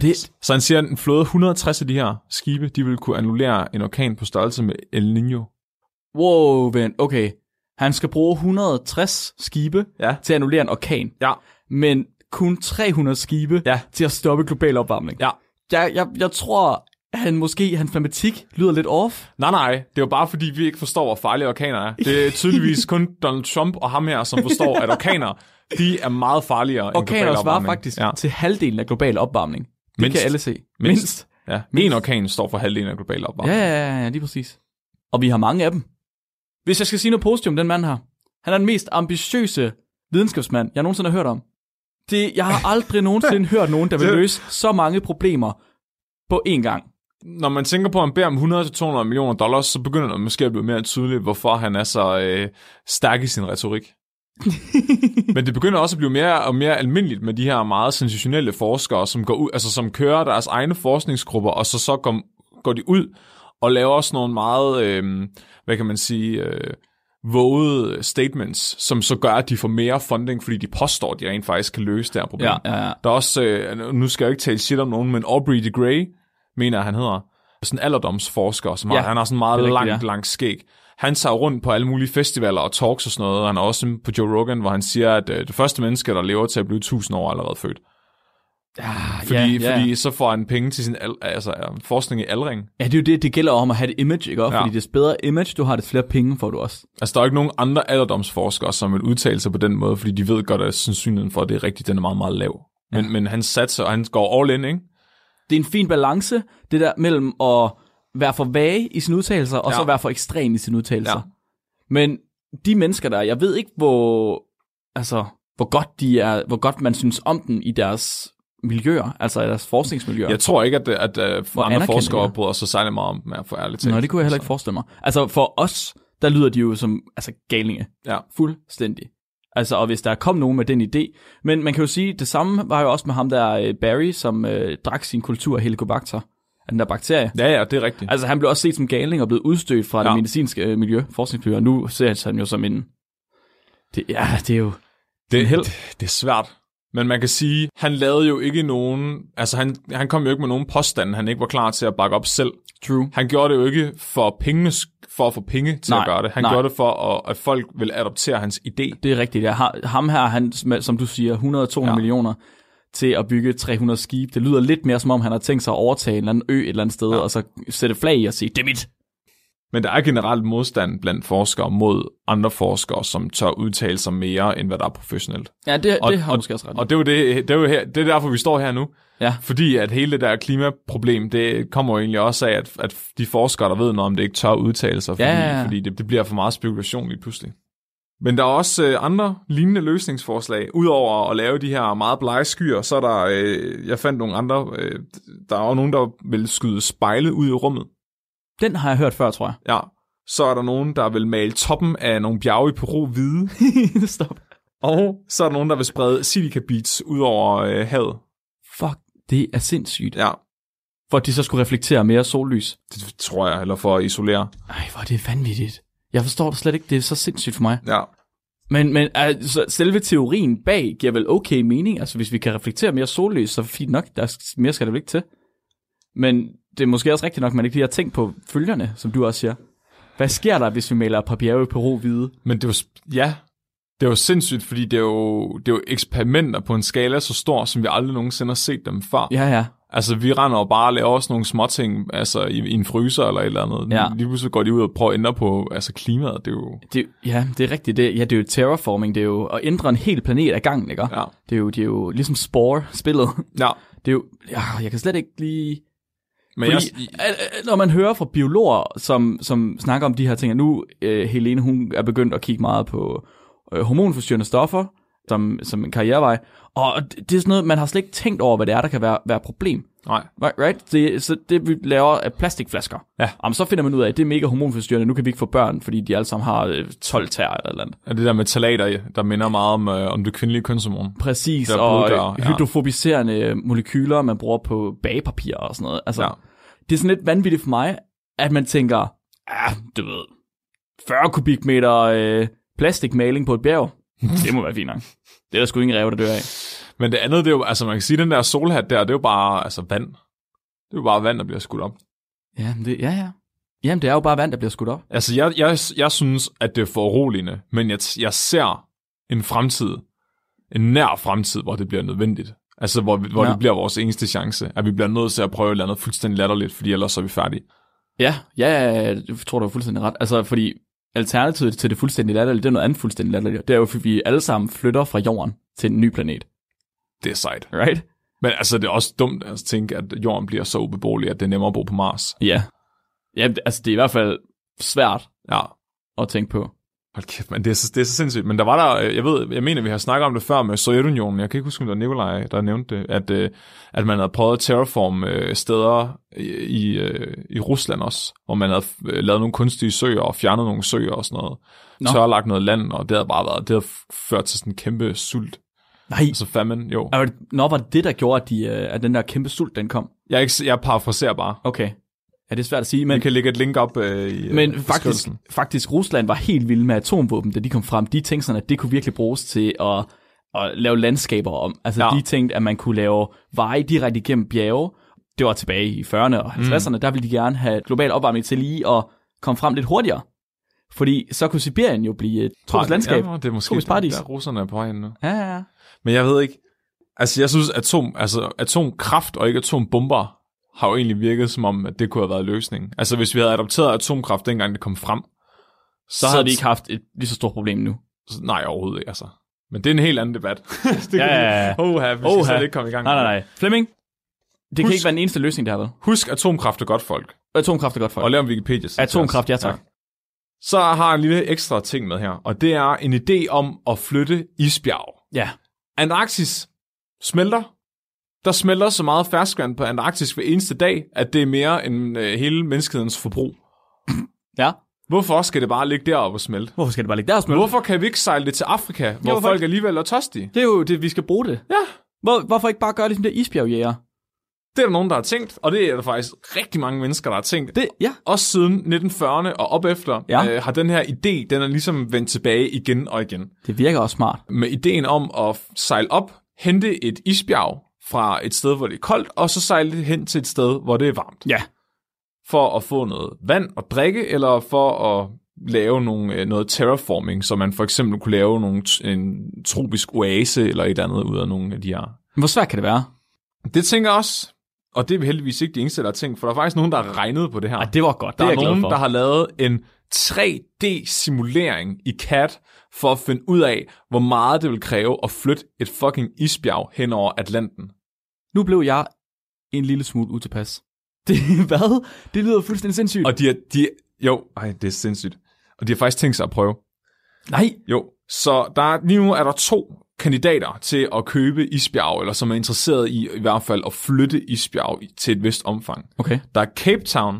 Speaker 3: Det,
Speaker 4: Så han siger, at en flåde 160 af de her skibe, de vil kunne annullere en orkan på størrelse med El Niño.
Speaker 3: wow, vent, okay. Han skal bruge 160 skibe
Speaker 4: Ja.
Speaker 3: til at annullere en orkan,
Speaker 4: Ja.
Speaker 3: men kun 300 skibe
Speaker 4: Ja.
Speaker 3: til at stoppe global opvarmning.
Speaker 4: Ja.
Speaker 3: Jeg, jeg, jeg tror, han måske, hans matematik lyder lidt off.
Speaker 4: Nej, nej, det er jo bare fordi, vi ikke forstår, hvor farlige orkaner er. Det er tydeligvis kun Donald Trump og ham her, som forstår, at orkaner, de er meget farligere end global
Speaker 3: Orkaner svarer
Speaker 4: opvarmning.
Speaker 3: faktisk ja.
Speaker 4: Ja.
Speaker 3: til halvdelen af global opvarmning. Det
Speaker 4: Mindst.
Speaker 3: kan alle se.
Speaker 4: Mindst. Ja. En orkan står for halvdelen af global
Speaker 3: Ja,
Speaker 4: opvarmning.
Speaker 3: ja, ja, ja, lige præcis. Og vi har mange af dem. Hvis jeg skal sige noget positivt om den mand her. Han er den mest ambitiøse videnskabsmand, jeg nogensinde har hørt om. Det, jeg har aldrig [laughs] nogensinde hørt nogen, der vil
Speaker 4: Det-
Speaker 3: løse så mange problemer på én gang.
Speaker 4: Når man tænker på, at han beder om 100-200 millioner dollars, så begynder det måske at blive mere tydeligt, hvorfor han er så øh, stærk i sin
Speaker 3: [laughs]
Speaker 4: retorik. Men det begynder også at blive mere og mere almindeligt med de her meget sensationelle forskere, som går ud, altså som kører deres egne forskningsgrupper, og så så går, går de ud og laver også nogle meget, øh, hvad kan man sige, øh, vågede statements, som så gør, at de får mere funding, fordi de påstår, at de rent faktisk kan løse det her problem.
Speaker 3: Ja, Ah, ja, ja.
Speaker 4: Der er også, øh, nu skal jeg jo ikke tale shit om nogen, men Aubrey de Grey, mener jeg, han hedder, sådan en alderdomsforsker, som har,
Speaker 3: Ja,
Speaker 4: han har sådan meget
Speaker 3: det er rigtigt,
Speaker 4: langt,
Speaker 3: ja.
Speaker 4: langt skæg. Han tager rundt på alle mulige festivaler og talks og sådan noget, og han er også på Joe Rogan, hvor han siger, at øh, det første menneske, der lever til at blive 1000 år, er allerede født.
Speaker 3: Ah,
Speaker 4: Fordi,
Speaker 3: ja, ja.
Speaker 4: fordi så får han penge til sin al, altså, øh, forskning i aldring.
Speaker 3: ja, det er jo det, det gælder om at have et image, ikke? Ja.
Speaker 4: Ja.
Speaker 3: Fordi des bedre image, du har, des flere penge får du også.
Speaker 4: Altså, der er jo ikke nogen andre alderdomsforskere, som vil udtale sig på den måde, fordi de ved godt, at sandsynligheden for, at det er rigtigt, den er meget, meget lav. Men, men han satser, og han går all in, ikke?
Speaker 3: Det er en fin balance, det der mellem at være for vage i sine udtalelser, og ja.
Speaker 4: Ja.
Speaker 3: så være for ekstrem i sine udtalelser. Ja.
Speaker 4: Ja.
Speaker 3: Men de mennesker der, jeg ved ikke, hvor, altså, hvor godt de er, hvor godt man synes om dem i deres miljøer, altså i deres forskningsmiljøer.
Speaker 4: Jeg tror ikke, at, at, at
Speaker 3: Hvor
Speaker 4: andre
Speaker 3: anerkendte de
Speaker 4: forskere
Speaker 3: er.
Speaker 4: bryder sig særlig meget om, med at få ærligt talt.
Speaker 3: Nå, det kunne jeg heller ikke forestille mig. Altså for os, der lyder de jo som altså galinge.
Speaker 4: Ja.
Speaker 3: Fuldstændig. Altså, og hvis der kom nogen med den idé. Men man kan jo sige, det samme var jo også med ham der øh, Barry, som øh, drak sin kultur af helicobacter, af den der bakterie.
Speaker 4: Ja, ja, det er rigtigt.
Speaker 3: Altså, han blev også set som galning og blevet udstødt fra ja. det
Speaker 4: Ja.
Speaker 3: medicinske øh, miljø, forskningsmiljø, og nu ser han jo som en... Det, ja, det er jo...
Speaker 4: det,
Speaker 3: held.
Speaker 4: det, det er svært. Men man kan sige, han lavede jo ikke nogen... Altså, han, han kom jo ikke med nogen påstande, han ikke var klar til at bakke op selv.
Speaker 3: True.
Speaker 4: Han gjorde det jo ikke for, pengenes, for at få penge til
Speaker 3: Nej,
Speaker 4: at gøre det. Han
Speaker 3: nej.
Speaker 4: gjorde det for, at, at folk ville adoptere hans idé.
Speaker 3: Det er rigtigt. Jeg har, ham her, han, sm- som du siger, 100-200 ja.
Speaker 4: Ja.
Speaker 3: millioner til at bygge 300 skibe. Det lyder lidt mere, som om han har tænkt sig at overtage en eller anden ø et eller andet sted, ja. og så sætte flag i og sige, det er mit.
Speaker 4: Men der er generelt modstand blandt forskere mod andre forskere, som tør udtale sig mere, end hvad der er professionelt.
Speaker 3: Ja, det,
Speaker 4: Og-
Speaker 3: det har og, måske også ret. Og,
Speaker 4: Og det er jo, det, det er jo her, det er derfor, vi står her nu.
Speaker 3: Ja.
Speaker 4: Fordi at hele det der klimaproblem, det kommer jo egentlig også af, at, at de forskere, der ved noget om det, ikke tør udtale sig, fordi,
Speaker 3: Ja, ja, ja.
Speaker 4: fordi det, det bliver for meget spekulation lige pludselig. Men der er også øh, andre lignende løsningsforslag. Udover at lave de her meget blege skyer, så er der, øh, jeg fandt nogle andre, øh, der er også nogen, der vil skyde spejle ud i rummet.
Speaker 3: den har jeg hørt før, tror jeg.
Speaker 4: Ja. Så er der nogen, der vil male toppen af nogle bjerge i Peru
Speaker 3: [laughs] [laughs]
Speaker 4: hvide.
Speaker 3: Stop.
Speaker 4: Og så er der nogen, der vil sprede silica beats ud over øh, havet.
Speaker 3: Fuck, det er sindssygt.
Speaker 4: Ja,
Speaker 3: For at de så skulle reflektere mere sollys.
Speaker 4: Det tror jeg, eller for at isolere.
Speaker 3: Ej, hvor er det vanvittigt. Jeg forstår det slet ikke. Det er så sindssygt for mig.
Speaker 4: Ja.
Speaker 3: Men, men altså, selve teorien bag giver vel okay mening. Altså, hvis vi kan reflektere mere sollys, så fint nok. Der er, mere skal der vel ikke til. Men det er måske også rigtigt nok, at man ikke lige har tænkt på følgerne, som du også siger. Hvad sker der, hvis vi maler et par bjerge i Peru hvide?
Speaker 4: Men det er jo, sp- ja, det er jo sindssygt, fordi det er jo, det er jo eksperimenter på en skala så stor, som vi aldrig nogensinde har set dem før.
Speaker 3: Ja, ja.
Speaker 4: Altså, vi render og bare og laver også nogle småting, altså i, i en fryser eller et eller andet.
Speaker 3: Ja.
Speaker 4: Lige pludselig går de ud og prøver at ændre på altså, klimaet. Det er jo...
Speaker 3: Det, ja, det er rigtigt. Det, ja, det er jo terraforming. Det er jo at ændre en hel planet ad gangen, ikke?
Speaker 4: Ja.
Speaker 3: Det, er jo, det er jo ligesom Spore-spillet.
Speaker 4: ja.
Speaker 3: Det er jo... Ja, jeg kan slet ikke lige...
Speaker 4: Men
Speaker 3: Fordi,
Speaker 4: jeg,
Speaker 3: al- al- når man hører fra biologer, som, som snakker om de her ting, og nu øh, Helene hun er begyndt at kigge meget på øh, hormonforstyrrende stoffer som, som en karrierevej, og det, det er sådan noget, man har slet ikke tænkt over, hvad det er, der kan være, være et problem.
Speaker 4: nej.
Speaker 3: Right? right? Det, så det vi laver af plastikflasker.
Speaker 4: Ja.
Speaker 3: Jamen, så finder man ud af, at det er mega hormonforstyrrende, nu kan vi ikke få børn, fordi de alle sammen har øh, 12 tær eller et eller andet.
Speaker 4: Og det der med talater, der minder meget om, øh, om det kvindelige kønshormon.
Speaker 3: Præcis,
Speaker 4: Der er
Speaker 3: og
Speaker 4: blodgører,
Speaker 3: ja.
Speaker 4: ja.
Speaker 3: hydrofobiserende molekyler, man bruger på bagepapir og sådan noget. Altså, ja.
Speaker 4: Ja.
Speaker 3: Det er sådan lidt vanvittigt for mig, at man tænker, ah, du ved, 40 kubikmeter øh, plastikmaling på et bjerg, [laughs] det må være fint nok. Det er der sgu ingen ræve, der dør af.
Speaker 4: Men det andet, det er jo, altså man kan sige, den der solhat der, det er jo bare altså, vand. Det er jo bare vand, der bliver skudt op.
Speaker 3: Ja, det, ja, ja. Jamen, det er jo bare vand, der bliver skudt op.
Speaker 4: Altså, jeg, jeg, jeg synes, at det er foruroligende, men jeg, jeg ser en fremtid, en nær fremtid, hvor det bliver nødvendigt. Altså, hvor, vi- hvor
Speaker 3: Ja.
Speaker 4: ja. det bliver vores eneste chance, at vi bliver nødt til at prøve et eller andet fuldstændig latterligt, fordi ellers så er vi færdige.
Speaker 3: Ja, ja, jeg tror, du er fuldstændig ret. Altså, fordi alternativet til det fuldstændig latterlige, det er noget andet fuldstændig latterligt. Det er jo, fordi vi alle sammen flytter fra jorden til en ny planet,
Speaker 4: Det er sejt.
Speaker 3: right?
Speaker 4: Men altså, det er også dumt at tænke, at jorden bliver så ubeboelig, at det er nemmere at bo på Mars.
Speaker 3: Ja. Ja, det- altså, det er i hvert fald svært
Speaker 4: Ja,
Speaker 3: at tænke på.
Speaker 4: Hold kæft, man, det, er så, det er så sindssygt. Men der var der, øh, jeg ved, jeg mener, vi har snakket om det før med Sovjetunionen. Jeg kan ikke huske, om det var Nikolaj, der nævnte det, at, øh, at man havde prøvet at terraform øh, steder i, i, øh, i Rusland også, hvor man havde øh, lavet nogle kunstige søer og fjernet nogle søer og sådan noget.
Speaker 3: Nå.
Speaker 4: Tørlagt noget land, og det havde bare været, det havde f- ført til sådan en kæmpe sult.
Speaker 3: Nej.
Speaker 4: Altså famine, jo.
Speaker 3: Og var det- Nå, var det det, der gjorde, at, de, øh, at den der kæmpe sult, den kom?
Speaker 4: Jeg, er ikke, s- jeg parafraserer bare.
Speaker 3: Okay. Ja, det er svært at sige, men...
Speaker 4: Men, vi kan lægge et link op øh, i øh,
Speaker 3: Men faktisk,
Speaker 4: beskrivelsen.
Speaker 3: faktisk Rusland var helt vild med atomvåben, da de kom frem. De tænkte sådan, at det kunne virkelig bruges til at, at lave landskaber om. Altså ja.
Speaker 4: Ja.
Speaker 3: de tænkte, at man kunne lave veje direkte igennem bjerge. Det var tilbage i 40'erne og 50'erne. Mm. Der ville de gerne have global opvarmning til lige at komme frem lidt hurtigere. Fordi så kunne Sibirien jo blive et tropisk landskab.
Speaker 4: Ja, det er måske
Speaker 3: Tropisk paradis.
Speaker 4: der, russerne er på vej hen nu.
Speaker 3: Ja, ja, ja.
Speaker 4: Men jeg ved ikke, altså jeg synes, atom, altså atomkraft og ikke atombomber har jo egentlig virket som om, at det kunne have været løsningen. Altså hvis vi havde adopteret atomkraft dengang det kom frem,
Speaker 3: Så, så havde vi ikke haft et lige så stort problem nu.
Speaker 4: Nej, overhovedet ikke, altså. Men det er en helt anden debat. [laughs] det
Speaker 3: Ja, ja, ja.
Speaker 4: Kan vi... Oha, vi
Speaker 3: Oha.
Speaker 4: skal slet ikke komme i gang.
Speaker 3: Nej, nej, nej. Flemming, det kan
Speaker 4: Husk-
Speaker 3: ikke være den eneste løsning, der har været.
Speaker 4: Husk, atomkraft er godt, folk.
Speaker 3: Atomkraft er godt for
Speaker 4: Og lav en Wikipedia. til os.
Speaker 3: Atomkraft, ja tak.
Speaker 4: Så har jeg en lille ekstra ting med her, og det er en idé om at flytte isbjerg.
Speaker 3: Ja.
Speaker 4: Antarktis smelter. Der smelter så meget ferskvand på Antarktis hver eneste dag, at det er mere end øh, hele menneskehedens forbrug.
Speaker 3: ja.
Speaker 4: Hvorfor skal det bare ligge deroppe og smelte?
Speaker 3: Hvorfor skal det bare ligge der og smelte?
Speaker 4: Hvorfor kan vi ikke sejle det til Afrika, hvor
Speaker 3: hvorfor
Speaker 4: folk
Speaker 3: ikke?
Speaker 4: alligevel er tørstige?
Speaker 3: Det er jo det, vi skal bruge det.
Speaker 4: Ja,
Speaker 3: Hvor, hvorfor ikke bare gøre ligesom det isbjergjæger?
Speaker 4: det er der nogen, der har tænkt, og det er der faktisk rigtig mange mennesker, der har tænkt.
Speaker 3: Det, ja.
Speaker 4: Også siden 1940'erne og op efter
Speaker 3: Ja.
Speaker 4: ja. øh, har den her idé, den er ligesom vendt tilbage igen og igen.
Speaker 3: Det virker også smart.
Speaker 4: med ideen om at sejle op, hente et isbjerg fra et sted, hvor det er koldt, og så sejle det hen til et sted, hvor det er varmt.
Speaker 3: Ja.
Speaker 4: For at få noget vand at drikke, eller for at lave nogle, øh, noget terraforming, så man for eksempel kunne lave nogle, t- en tropisk oase eller et eller andet ud af nogle af de her.
Speaker 3: Men hvor svært kan det være?
Speaker 4: Det tænker jeg også, og det er vi heldigvis ikke de eneste, der har tænkt, for der er faktisk nogen, der har regnet på det her.
Speaker 3: Ej, det var godt.
Speaker 4: Der
Speaker 3: det
Speaker 4: er,
Speaker 3: er jeg
Speaker 4: nogen,
Speaker 3: glad for.
Speaker 4: der har lavet en 3D-simulering i CAD for at finde ud af, hvor meget det vil kræve at flytte et fucking isbjerg hen over Atlanten.
Speaker 3: Nu blev jeg en lille smule utilpas. Det, hvad? Det lyder fuldstændig sindssygt.
Speaker 4: Og de er, de er, jo, ej, det er sindssygt. Og de har faktisk tænkt sig at prøve.
Speaker 3: nej,
Speaker 4: Jo, så der, er- lige nu er der to kandidater til at købe isbjerg, eller som er interesseret i i hvert fald at flytte isbjerg i- til et vist omfang.
Speaker 3: okay,
Speaker 4: Der er Cape Town,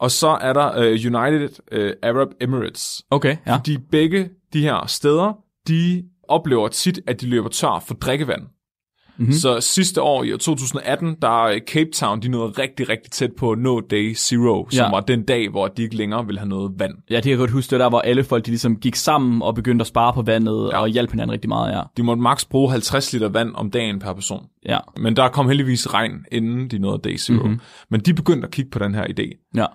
Speaker 4: og så er der uh, United uh, Arab Emirates.
Speaker 3: okay, ja.
Speaker 4: de begge de her steder, de oplever tit, at de løber tør for drikkevand.
Speaker 3: Mhm.
Speaker 4: Mm-hmm. Så sidste år i år 2018, der er Cape Town, de nåede rigtig, rigtig tæt på No Day Zero, som
Speaker 3: Ja.
Speaker 4: ja. var den dag, hvor de ikke længere ville have noget vand.
Speaker 3: Ja, det kan jeg godt huske, det var der, hvor alle folk de ligesom gik sammen og begyndte at spare på vandet ja.
Speaker 4: Ja.
Speaker 3: og hjalp hinanden rigtig meget, ja.
Speaker 4: De måtte maks bruge 50 liter vand om dagen per person.
Speaker 3: Ja,
Speaker 4: Men der kom heldigvis regn, inden de nåede Day Zero.
Speaker 3: Mhm.
Speaker 4: Mm-hmm. Men de begyndte at kigge på den her idé.
Speaker 3: ja.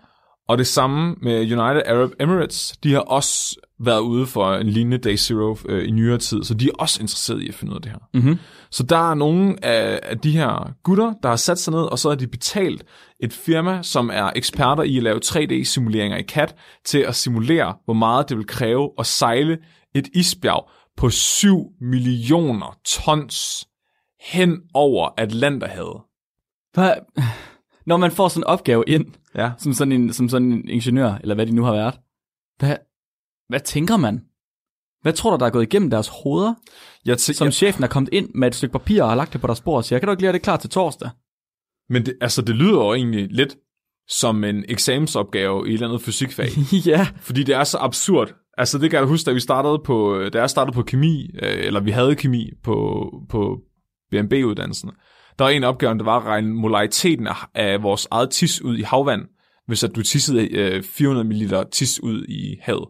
Speaker 4: Og det samme med United Arab Emirates. De har også været ude for en lignende Day Zero øh, i nyere tid, så de er også interesseret i at finde ud af det her.
Speaker 3: Mhm.
Speaker 4: Så der er nogle af, af de her gutter, der har sat sig ned, og så har de betalt et firma, som er eksperter i at lave 3D-simuleringer i CAD, til at simulere, hvor meget det vil kræve at sejle et isbjerg på 7 millioner tons hen over Atlanterhavet.
Speaker 3: Hvad? [sighs] Når man får sådan en opgave ind,
Speaker 4: Ja.
Speaker 3: som sådan en, som sådan en ingeniør, eller hvad de nu har været, hvad, hvad tænker man? Hvad tror du, der er gået igennem deres hoveder?
Speaker 4: Jeg tæ-
Speaker 3: som chefen er kommet ind med et stykke papir og har lagt det på deres bord og siger, kan du ikke lige have det klar til torsdag? [laughs]
Speaker 4: Men det, altså, det lyder jo egentlig lidt som en eksamensopgave i et eller andet fysikfag.
Speaker 3: ja.
Speaker 4: fordi det er så absurd. Altså, det kan jeg da huske, da vi startede på, da jeg startede på kemi, øh, eller vi havde kemi på, på BMB-uddannelsen. Der var en opgave, der var at regne molariteten af, af vores eget tis ud i havvand, hvis at du tissede øh, 400 ml tis ud i havet.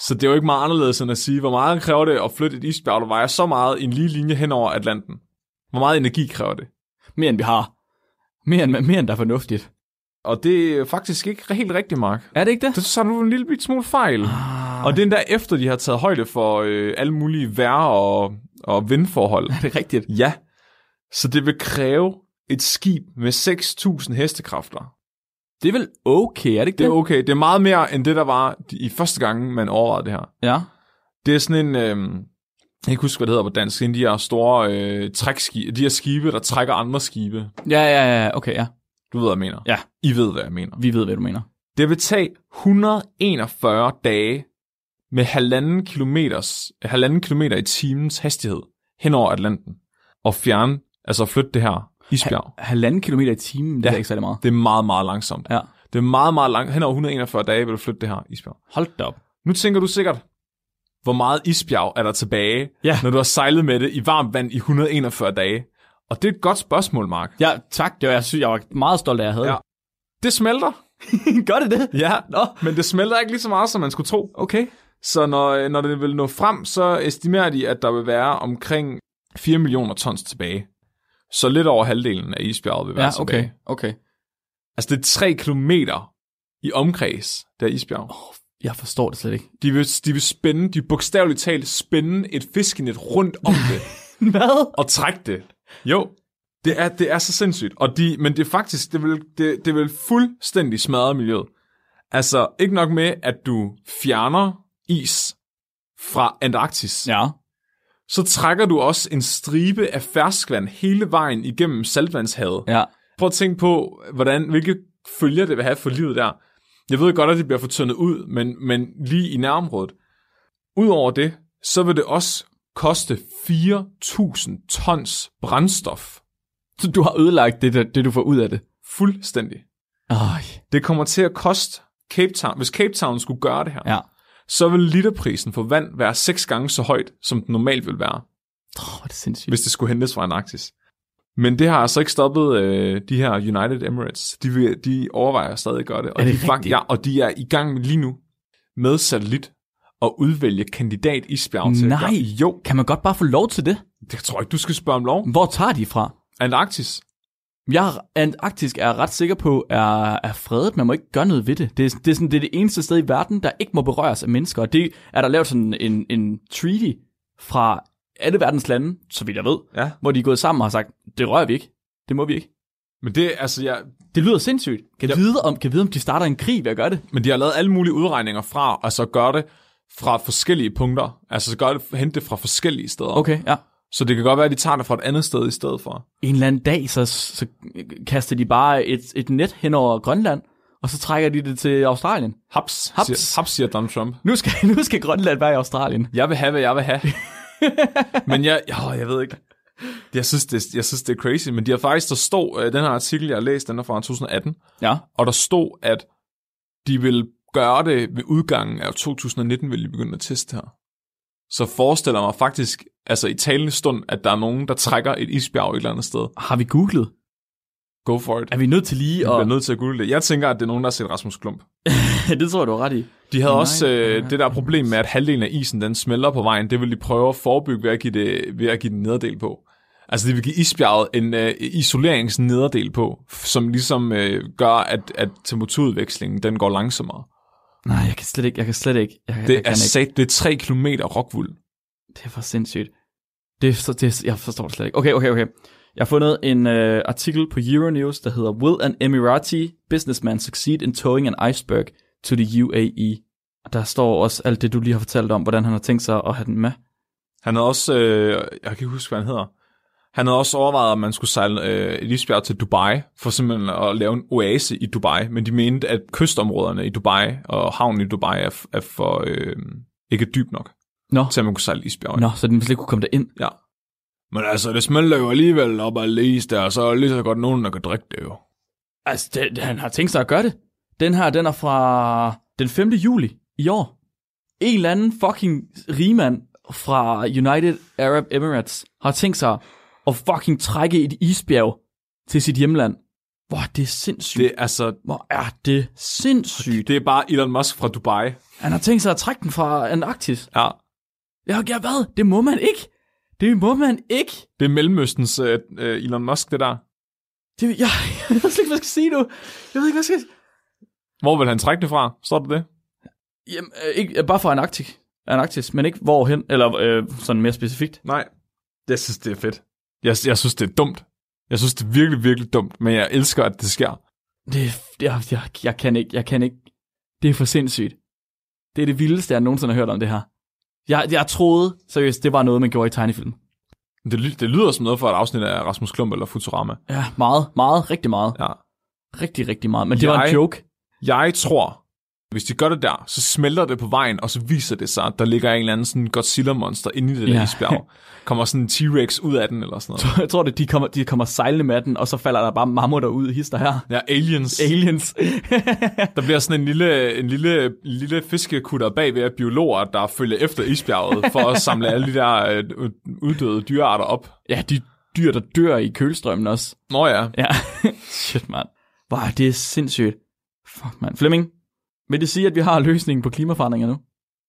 Speaker 4: Så det er jo ikke meget anderledes end at sige, hvor meget kræver det at flytte et isbjerg, der vejer så meget i en lige linje hen over Atlanten. Hvor meget energi kræver det?
Speaker 3: Mere end vi har. Mere end, mere end der er fornuftigt.
Speaker 4: Og det er faktisk ikke helt rigtigt, Mark.
Speaker 3: Er det ikke det?
Speaker 4: Det så er du en lille bit smule fejl. Ah. Og det er der efter, de har taget højde for øh, alle mulige vejr og, og vindforhold.
Speaker 3: Er det rigtigt?
Speaker 4: Ja. Så det vil kræve et skib med 6.000 hestekræfter.
Speaker 3: Det er vel okay, er det ikke
Speaker 4: Det
Speaker 3: det?
Speaker 4: er okay. Det er meget mere end det, der var i første gang, man overvejede det her.
Speaker 3: Ja.
Speaker 4: Det er sådan en... Øh, jeg kan ikke huske, hvad det hedder på dansk. Det er de her store øh, trækskibe, de her skibe, der trækker andre skibe.
Speaker 3: Ja, ja, ja, okay, ja.
Speaker 4: Du ved, hvad jeg mener.
Speaker 3: Ja.
Speaker 4: I ved, hvad jeg mener.
Speaker 3: Vi ved, hvad du mener.
Speaker 4: Det vil tage 141 dage med halvanden, kilometers, halvanden kilometer i timens hastighed hen over Atlanten og fjerne, altså flytte det her isbjerg.
Speaker 3: Halvanden kilometer i timen, det ja.
Speaker 4: Ja.
Speaker 3: er ikke særlig meget.
Speaker 4: Det er meget, meget langsomt.
Speaker 3: Ja.
Speaker 4: Det er meget, meget langt. Hen over 141 dage vil du flytte det her isbjerg.
Speaker 3: Hold da op.
Speaker 4: Nu tænker du sikkert, hvor meget isbjerg er der tilbage,
Speaker 3: Ja.
Speaker 4: når du har sejlet med det i varmt vand i 141 dage? Og det er et godt spørgsmål, Mark.
Speaker 3: Ja, tak. Det var, jeg, sy- jeg var meget stolt af, at jeg havde.
Speaker 4: Ja. Det smelter.
Speaker 3: Gør det [laughs] det?
Speaker 4: Ja, Nå. men det smelter ikke lige så meget, som man skulle tro.
Speaker 3: Okay.
Speaker 4: Så når, når det vil nå frem, så estimerer de, at der vil være omkring 4 millioner tons tilbage. Så lidt over halvdelen af isbjerget vil være
Speaker 3: Ja, okay.
Speaker 4: tilbage.
Speaker 3: okay.
Speaker 4: Altså det er 3 kilometer i omkreds, der isbjerg.
Speaker 3: Jeg forstår det slet ikke.
Speaker 4: De vil, de vil spænde, de vil bogstaveligt talt spænde et fiskenet rundt om det
Speaker 3: [laughs] Hvad?
Speaker 4: og trække det. Jo, det er, det er så sindssygt. Og de, men det er faktisk, det vil, det, det vil fuldstændig smadre miljøet. Altså ikke nok med, at du fjerner is fra Antarktis.
Speaker 3: Ja.
Speaker 4: så trækker du også en stribe af ferskvand hele vejen igennem saltvandshavet.
Speaker 3: Ja.
Speaker 4: Prøv at tænke på, hvordan, hvilke følger det vil have for livet der. Jeg ved godt, at det bliver fortyndet ud, men, men lige i nærområdet. Udover det, så vil det også koste 4.000 tons brændstof.
Speaker 3: Så du har ødelagt det, der, det du får ud af det.
Speaker 4: Fuldstændig.
Speaker 3: Ej.
Speaker 4: Det kommer til at koste Cape Town, hvis Cape Town skulle gøre det her,
Speaker 3: Ja.
Speaker 4: så vil literprisen for vand være seks gange så højt, som den normalt vil være.
Speaker 3: Åh, oh, det er sindssygt.
Speaker 4: hvis det skulle hentes fra Antarktis. Men det har altså ikke stoppet øh, de her United Emirates. De, vil, de overvejer stadig at gøre det. Og,
Speaker 3: Er det
Speaker 4: de
Speaker 3: rigtigt?
Speaker 4: ja, og de er i gang lige nu med satellit at udvælge kandidat i spjergen til at
Speaker 3: Nej.
Speaker 4: gøre- Jo,
Speaker 3: Kan man godt bare få lov til det?
Speaker 4: det tror jeg ikke, du skal spørge om lov.
Speaker 3: Hvor tager de fra?
Speaker 4: Antarktis.
Speaker 3: Jeg er, Antarktisk er jeg ret sikker på, er, er fredet. Man må ikke gøre noget ved det. Det er, det, er sådan, det er det eneste sted i verden, der ikke må berøres af mennesker. Og det er der lavet sådan en, en treaty fra alle verdens lande, så vidt jeg ved,
Speaker 4: Ja.
Speaker 3: hvor de er gået sammen og har sagt, det rører vi ikke. Det må vi ikke.
Speaker 4: Men det, altså, jeg,
Speaker 3: Det lyder sindssygt. Kan, ja. vide, om, kan vide, om de starter en krig ved at gøre det?
Speaker 4: Men de har lavet alle mulige udregninger fra, og så gør det fra forskellige punkter. Altså så gør det, hente det fra forskellige steder.
Speaker 3: Okay, ja.
Speaker 4: Så det kan godt være, at de tager det fra et andet sted i stedet for.
Speaker 3: En eller anden dag, så, så kaster de bare et, et net hen over Grønland, og så trækker de det til Australien.
Speaker 4: Haps,
Speaker 3: Haps.
Speaker 4: Siger, haps siger Donald Trump.
Speaker 3: Nu skal, [laughs] nu skal Grønland være i Australien.
Speaker 4: Jeg vil have, hvad jeg vil
Speaker 3: [laughs]
Speaker 4: have. men jeg, åh, jeg ved ikke. Jeg synes, det, jeg synes, det er crazy, men de har faktisk, der stod, øh, den her artikel, jeg har læst, den er fra 2018,
Speaker 3: Ja.
Speaker 4: og der stod, at de vil gøre det ved udgangen af 2019, vil de begynde at teste her. Så forestiller jeg mig faktisk, altså i talende stund, at der er nogen, der trækker et isbjerg et eller andet sted.
Speaker 3: Har vi googlet?
Speaker 4: Go for it.
Speaker 3: Er vi nødt til lige
Speaker 4: Jeg
Speaker 3: at...
Speaker 4: bliver nødt til at google det. Jeg tænker, at det er nogen, der har set Rasmus Klump.
Speaker 3: [laughs] det tror jeg, du har ret i.
Speaker 4: De havde
Speaker 3: Nej,
Speaker 4: Nej, også
Speaker 3: nej.
Speaker 4: øh, det der problem med, at halvdelen af isen den smelter på vejen. Det vil de prøve at forebygge ved at give, det, ved at give den nederdel på. Altså de vil give isbjerget en øh, isoleringsnederdel på, f- som ligesom øh, gør, at, at temperaturudvekslingen den går langsommere.
Speaker 3: Nej, jeg kan slet ikke, jeg kan slet ikke. Jeg,
Speaker 4: Det,
Speaker 3: jeg
Speaker 4: er,
Speaker 3: kan ikke.
Speaker 4: sat, det er 3 km rockwool.
Speaker 3: Det er for sindssygt. Det er, så, det er, jeg forstår det slet ikke. Okay, okay, okay. Jeg har fundet en øh, artikel på Euronews, der hedder Will an Emirati businessman succeed in towing an iceberg to the UAE? Og der står også alt det, du lige har fortalt om, hvordan han har tænkt sig at have den med.
Speaker 4: Han havde også, øh, jeg kan ikke huske, hvad han hedder, han havde også overvejet, at man skulle sejle øh, et isbjerg til Dubai, for simpelthen at lave en oase i Dubai, men de mente, at kystområderne i Dubai og havnen i Dubai er, f- er for øh, ikke dyb nok.
Speaker 3: Nå,
Speaker 4: til at man kunne sejle isbjerg.
Speaker 3: Nå så den slet ikke kunne komme derind.
Speaker 4: Ja. Men altså, det smelter jo alligevel op af is der, og så er der lige så godt nogen, der kan drikke det jo.
Speaker 3: Altså, det, det- han har tænkt sig at gøre det. Den her, den er fra den 5. juli i år. En eller anden fucking rigmand fra United Arab Emirates har tænkt sig at fucking trække et isbjerg til sit hjemland. Hvor er det sindssygt.
Speaker 4: Det
Speaker 3: Det...
Speaker 4: er altså...
Speaker 3: Hvor er det sindssygt.
Speaker 4: Det er bare Elon Musk fra Dubai.
Speaker 3: Han har tænkt sig at trække den fra Antarktis.
Speaker 4: Ja.
Speaker 3: Jeg har gjort hvad? Det må man ikke. Det må man ikke.
Speaker 4: Det er Mellemøstens øh, øh, Elon Musk, det der.
Speaker 3: Det, jeg, [laughs] jeg ved slet ikke, hvad jeg skal sige nu. Jeg ved ikke, hvad jeg skal
Speaker 4: Hvor vil han trække det fra? Står det det?
Speaker 3: Jamen, øh, ikke, øh, bare for Antarktik. Antarktis, men ikke hvorhen, eller øh, sådan mere specifikt.
Speaker 4: Nej. Jeg synes, det er fedt. Jeg, jeg synes, det er dumt. Jeg synes, det er virkelig, virkelig dumt, men jeg elsker, at det sker.
Speaker 3: Det, det jeg, jeg, jeg kan ikke, jeg kan ikke. Det er for sindssygt. Det er det vildeste, jeg nogensinde har hørt om det her. Jeg, jeg troede, seriøst, det var noget, man gjorde i tegnefilm.
Speaker 4: Det, ly- det lyder som noget for et afsnit af Rasmus Klump eller Futurama.
Speaker 3: Ja, meget, meget, rigtig meget.
Speaker 4: Ja.
Speaker 3: Rigtig, rigtig meget. Men det var en
Speaker 4: Jeg-
Speaker 3: joke. [laughs]
Speaker 4: Jeg tror, hvis de gør det der, så smelter det på vejen, og så viser det sig, at der ligger en eller anden sådan Godzilla-monster inde i det der
Speaker 3: Ja.
Speaker 4: isbjerg. Kommer sådan en T-Rex ud af den eller sådan noget.
Speaker 3: Jeg tror, det, de kommer, de kommer sejlende med den, og så falder der bare mammutter ud i hister her.
Speaker 4: Ja, aliens.
Speaker 3: Aliens.
Speaker 4: Der bliver sådan en lille, en lille, en lille fiskekutter bagved af biologer, der følger efter isbjerget for at samle alle de der øh, uddøde dyrearter op.
Speaker 3: [laughs] ja, de dyr, der dør i kølstrømmen også.
Speaker 4: Nå ja,
Speaker 3: Ja, [laughs] shit, mand. Wow, det er sindssygt. Fuck, mand. Flemming, vil det sige, at vi har løsningen på klimaforandringer nu?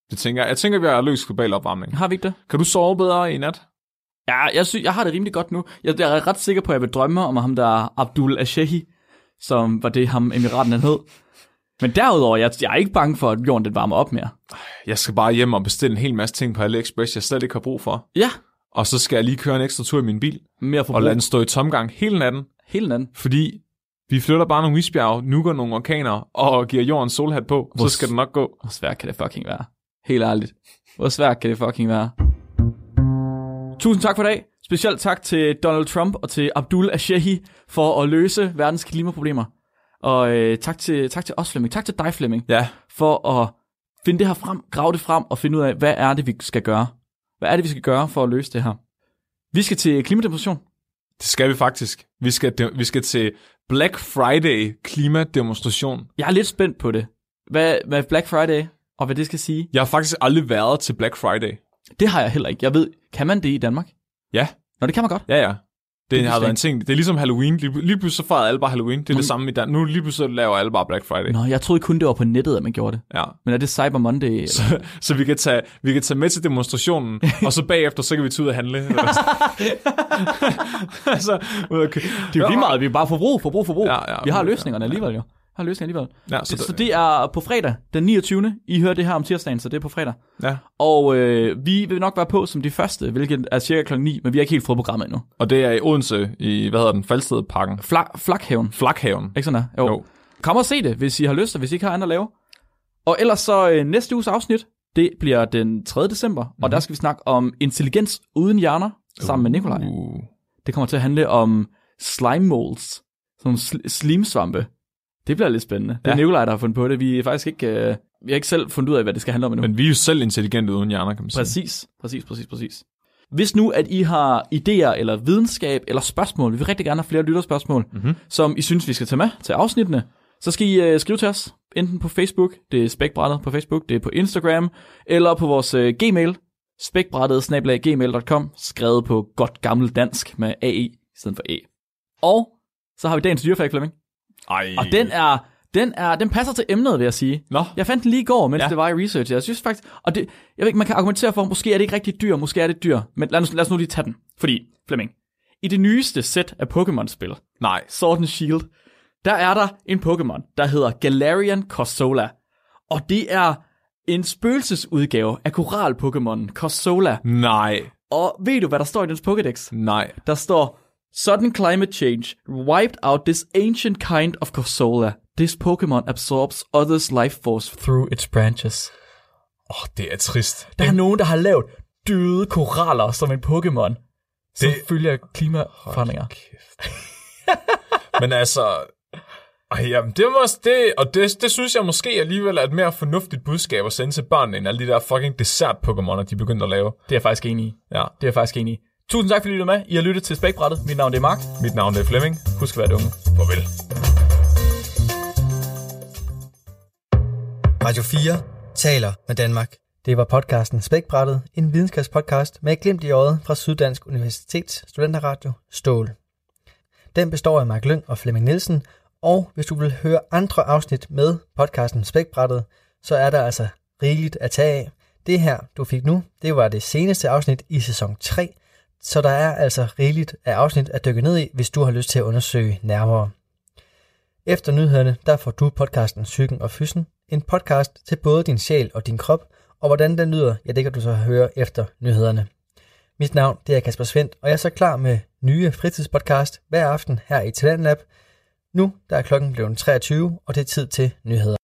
Speaker 4: det tænker jeg. Jeg tænker, vi har løst global opvarmning.
Speaker 3: Har vi ikke det?
Speaker 4: Kan du sove bedre i nat?
Speaker 3: Ja, jeg, sy- jeg har det rimelig godt nu. Jeg, jeg er ret sikker på, at jeg vil drømme om ham der Abdul Ashehi, som var det, ham emiraten han hed. Men derudover, jeg, jeg er ikke bange for, at jorden den varmer op mere.
Speaker 4: Jeg skal bare hjem og bestille en hel masse ting på AliExpress, jeg slet ikke har brug for.
Speaker 3: Ja,
Speaker 4: Og så skal jeg lige køre en ekstra tur i min bil,
Speaker 3: mere
Speaker 4: og
Speaker 3: forbrug.
Speaker 4: lade den stå i tomgang hele natten,
Speaker 3: Helt anden.
Speaker 4: fordi vi flytter bare nogle isbjerge, nukker nogle orkaner, og giver jorden solhat på,
Speaker 3: Hvor-
Speaker 4: så skal det nok gå.
Speaker 3: Hvor svært kan det fucking være? Helt ærligt. Hvor svært kan det fucking være? Tusind tak for i dag. Specielt tak til Donald Trump og til Abdul Ashehi for at løse verdens klimaproblemer. Og øh, tak, til, tak til os, Flemming. Tak til dig, Flemming,
Speaker 4: Ja,
Speaker 3: for at finde det her frem, grave det frem og finde ud af, hvad er det, vi skal gøre? Hvad er det, vi skal gøre for at løse det her? Vi skal til klimademonstration.
Speaker 4: det skal vi faktisk. Vi skal, vi skal til Black Friday klimademonstration.
Speaker 3: Jeg er lidt spændt på det. Hvad, hvad Black Friday og hvad det skal sige,
Speaker 4: Jeg har faktisk aldrig været til Black Friday.
Speaker 3: det har jeg heller ikke. Jeg ved, kan man det i Danmark?
Speaker 4: Ja,
Speaker 3: Nå, det kan man godt.
Speaker 4: ja, ja. Det,
Speaker 3: Det
Speaker 4: det har
Speaker 3: vidste jeg
Speaker 4: været en ting. Det er ligesom Halloween. Lige, lige pludselig så fejrede alle bare Halloween. Det er
Speaker 3: Men-
Speaker 4: det samme i Danmark. Nu lige pludselig så laver alle bare Black Friday.
Speaker 3: Nå, jeg troede kun, det var på nettet, at man gjorde det.
Speaker 4: Ja.
Speaker 3: Men er det Cyber Monday? Eller?
Speaker 4: Så, så vi, kan tage, vi kan tage med til demonstrationen, og så bagefter, så kan vi tage ud og
Speaker 3: [laughs]
Speaker 4: handle. altså, ud og kø-
Speaker 3: Det er jo lige meget, vi er bare forbrug, forbrug, forbrug.
Speaker 4: Ja, ja,
Speaker 3: vi har
Speaker 4: ja,
Speaker 3: løsningerne alligevel jo. Vi har løsninger alligevel.
Speaker 4: Ja, så,
Speaker 3: Så, så det er på fredag, den 29. I hører det her om tirsdagen, så det er på fredag.
Speaker 4: ja.
Speaker 3: Og øh, vi vil nok være på som de første, hvilket er cirka klokken 9, men vi har ikke helt fået programmet endnu.
Speaker 4: Og det er i Odense, i, hvad hedder den, Falstedparken.
Speaker 3: Fla- Flakhaven,
Speaker 4: Flakhaven.
Speaker 3: ikke sådan der? Jo. jo.
Speaker 4: Jo.
Speaker 3: Kom og se det, hvis I har lyst, og hvis I ikke har andet at lave. Og ellers så øh, næste uges afsnit, det bliver den 3. december, mm-hmm. og der skal vi snakke om intelligens uden hjerner, sammen med Nikolaj.
Speaker 4: Mhm. Uh.
Speaker 3: Det kommer til at handle om slime molds, sådan nogle sl- slimsvampe. Det bliver lidt spændende. Det er ja.
Speaker 4: Ja.
Speaker 3: Nikolaj, der har fundet på det. Vi er faktisk ikke, øh, vi har ikke selv fundet ud af, hvad det skal handle om endnu.
Speaker 4: Men vi er jo selv intelligente uden hjerner, kan man sige.
Speaker 3: Præcis, præcis, præcis, præcis. Hvis nu, at I har idéer eller videnskab eller spørgsmål, vi vil rigtig gerne have flere lytterspørgsmål, mm-hmm. som I synes, vi skal tage med til afsnittene, så skal I øh, skrive til os, enten på Facebook, det er spækbrættet på Facebook, det er på Instagram, eller på vores øh, gmail, spækbrættet-gmail.com, skrevet på godt gammelt dansk med AE i stedet for E. Og så har vi dagens dyrefag, Flemming.
Speaker 4: Ej.
Speaker 3: Og den er, den er, den passer til emnet, vil jeg sige.
Speaker 4: Nå.
Speaker 3: Jeg fandt den lige i går, mens ja.
Speaker 4: Ja.
Speaker 3: det var i research. Jeg synes faktisk, og det, jeg ved ikke, man kan argumentere for, måske er det ikke rigtig et dyr, måske er det et dyr. Men lad os, lad os nu lige tage den. Fordi, Flemming, i det nyeste sæt af Pokémon-spil,
Speaker 4: Nej.
Speaker 3: Sword and Shield, der er der en Pokémon, der hedder Galarian Corsola. Og det er en spøgelsesudgave af koral-Pokémonen Corsola.
Speaker 4: Nej.
Speaker 3: Og ved du, hvad der står i dens Pokédex?
Speaker 4: Nej.
Speaker 3: Der står, Sudden climate change wiped out this ancient kind of Corsola. This Pokemon absorbs others' life force through its branches.
Speaker 4: Åh, oh, det er trist.
Speaker 3: Der er nogen, der har lavet døde koraller som en Pokemon. Som det... følger klimaforandringer.
Speaker 4: Kæft. Men altså... Ej, jamen, det, må, det, og det, det synes jeg måske alligevel er et mere fornuftigt budskab at sende til børnene, end alle de der fucking dessert-pokémoner, de begyndte at lave.
Speaker 3: Det er jeg faktisk enig i.
Speaker 4: Ja.
Speaker 3: Det er jeg faktisk enig i. Tusind tak, fordi I lyttede med. I har lyttet til Spækbrættet. Mit navn det er Mark.
Speaker 4: Mit navn er Flemming.
Speaker 3: Husk at være dumme.
Speaker 4: Farvel.
Speaker 2: Radio 4 taler med Danmark. Det var podcasten Spækbrættet, en videnskabspodcast med et glimt i øjet fra Syddansk Universitets Studenterradio Stål. Den består af Mark Lyng og Flemming Nielsen, og hvis du vil høre andre afsnit med podcasten Spækbrættet, så er der altså rigeligt at tage af. Det her, du fik nu, det var det seneste afsnit i sæson 3, Så der er altså rigeligt af afsnit at dykke ned i, hvis du har lyst til at undersøge nærmere. Efter nyhederne, der får du podcasten Psyken og Fyssen, en podcast til både din sjæl og din krop, og hvordan den lyder, ja det kan du så høre efter nyhederne. Mit navn det er Kasper Svendt, og jeg er så klar med nye fritidspodcast hver aften her i Talentlab. Nu der er klokken blevet 23, og det er tid til nyheder.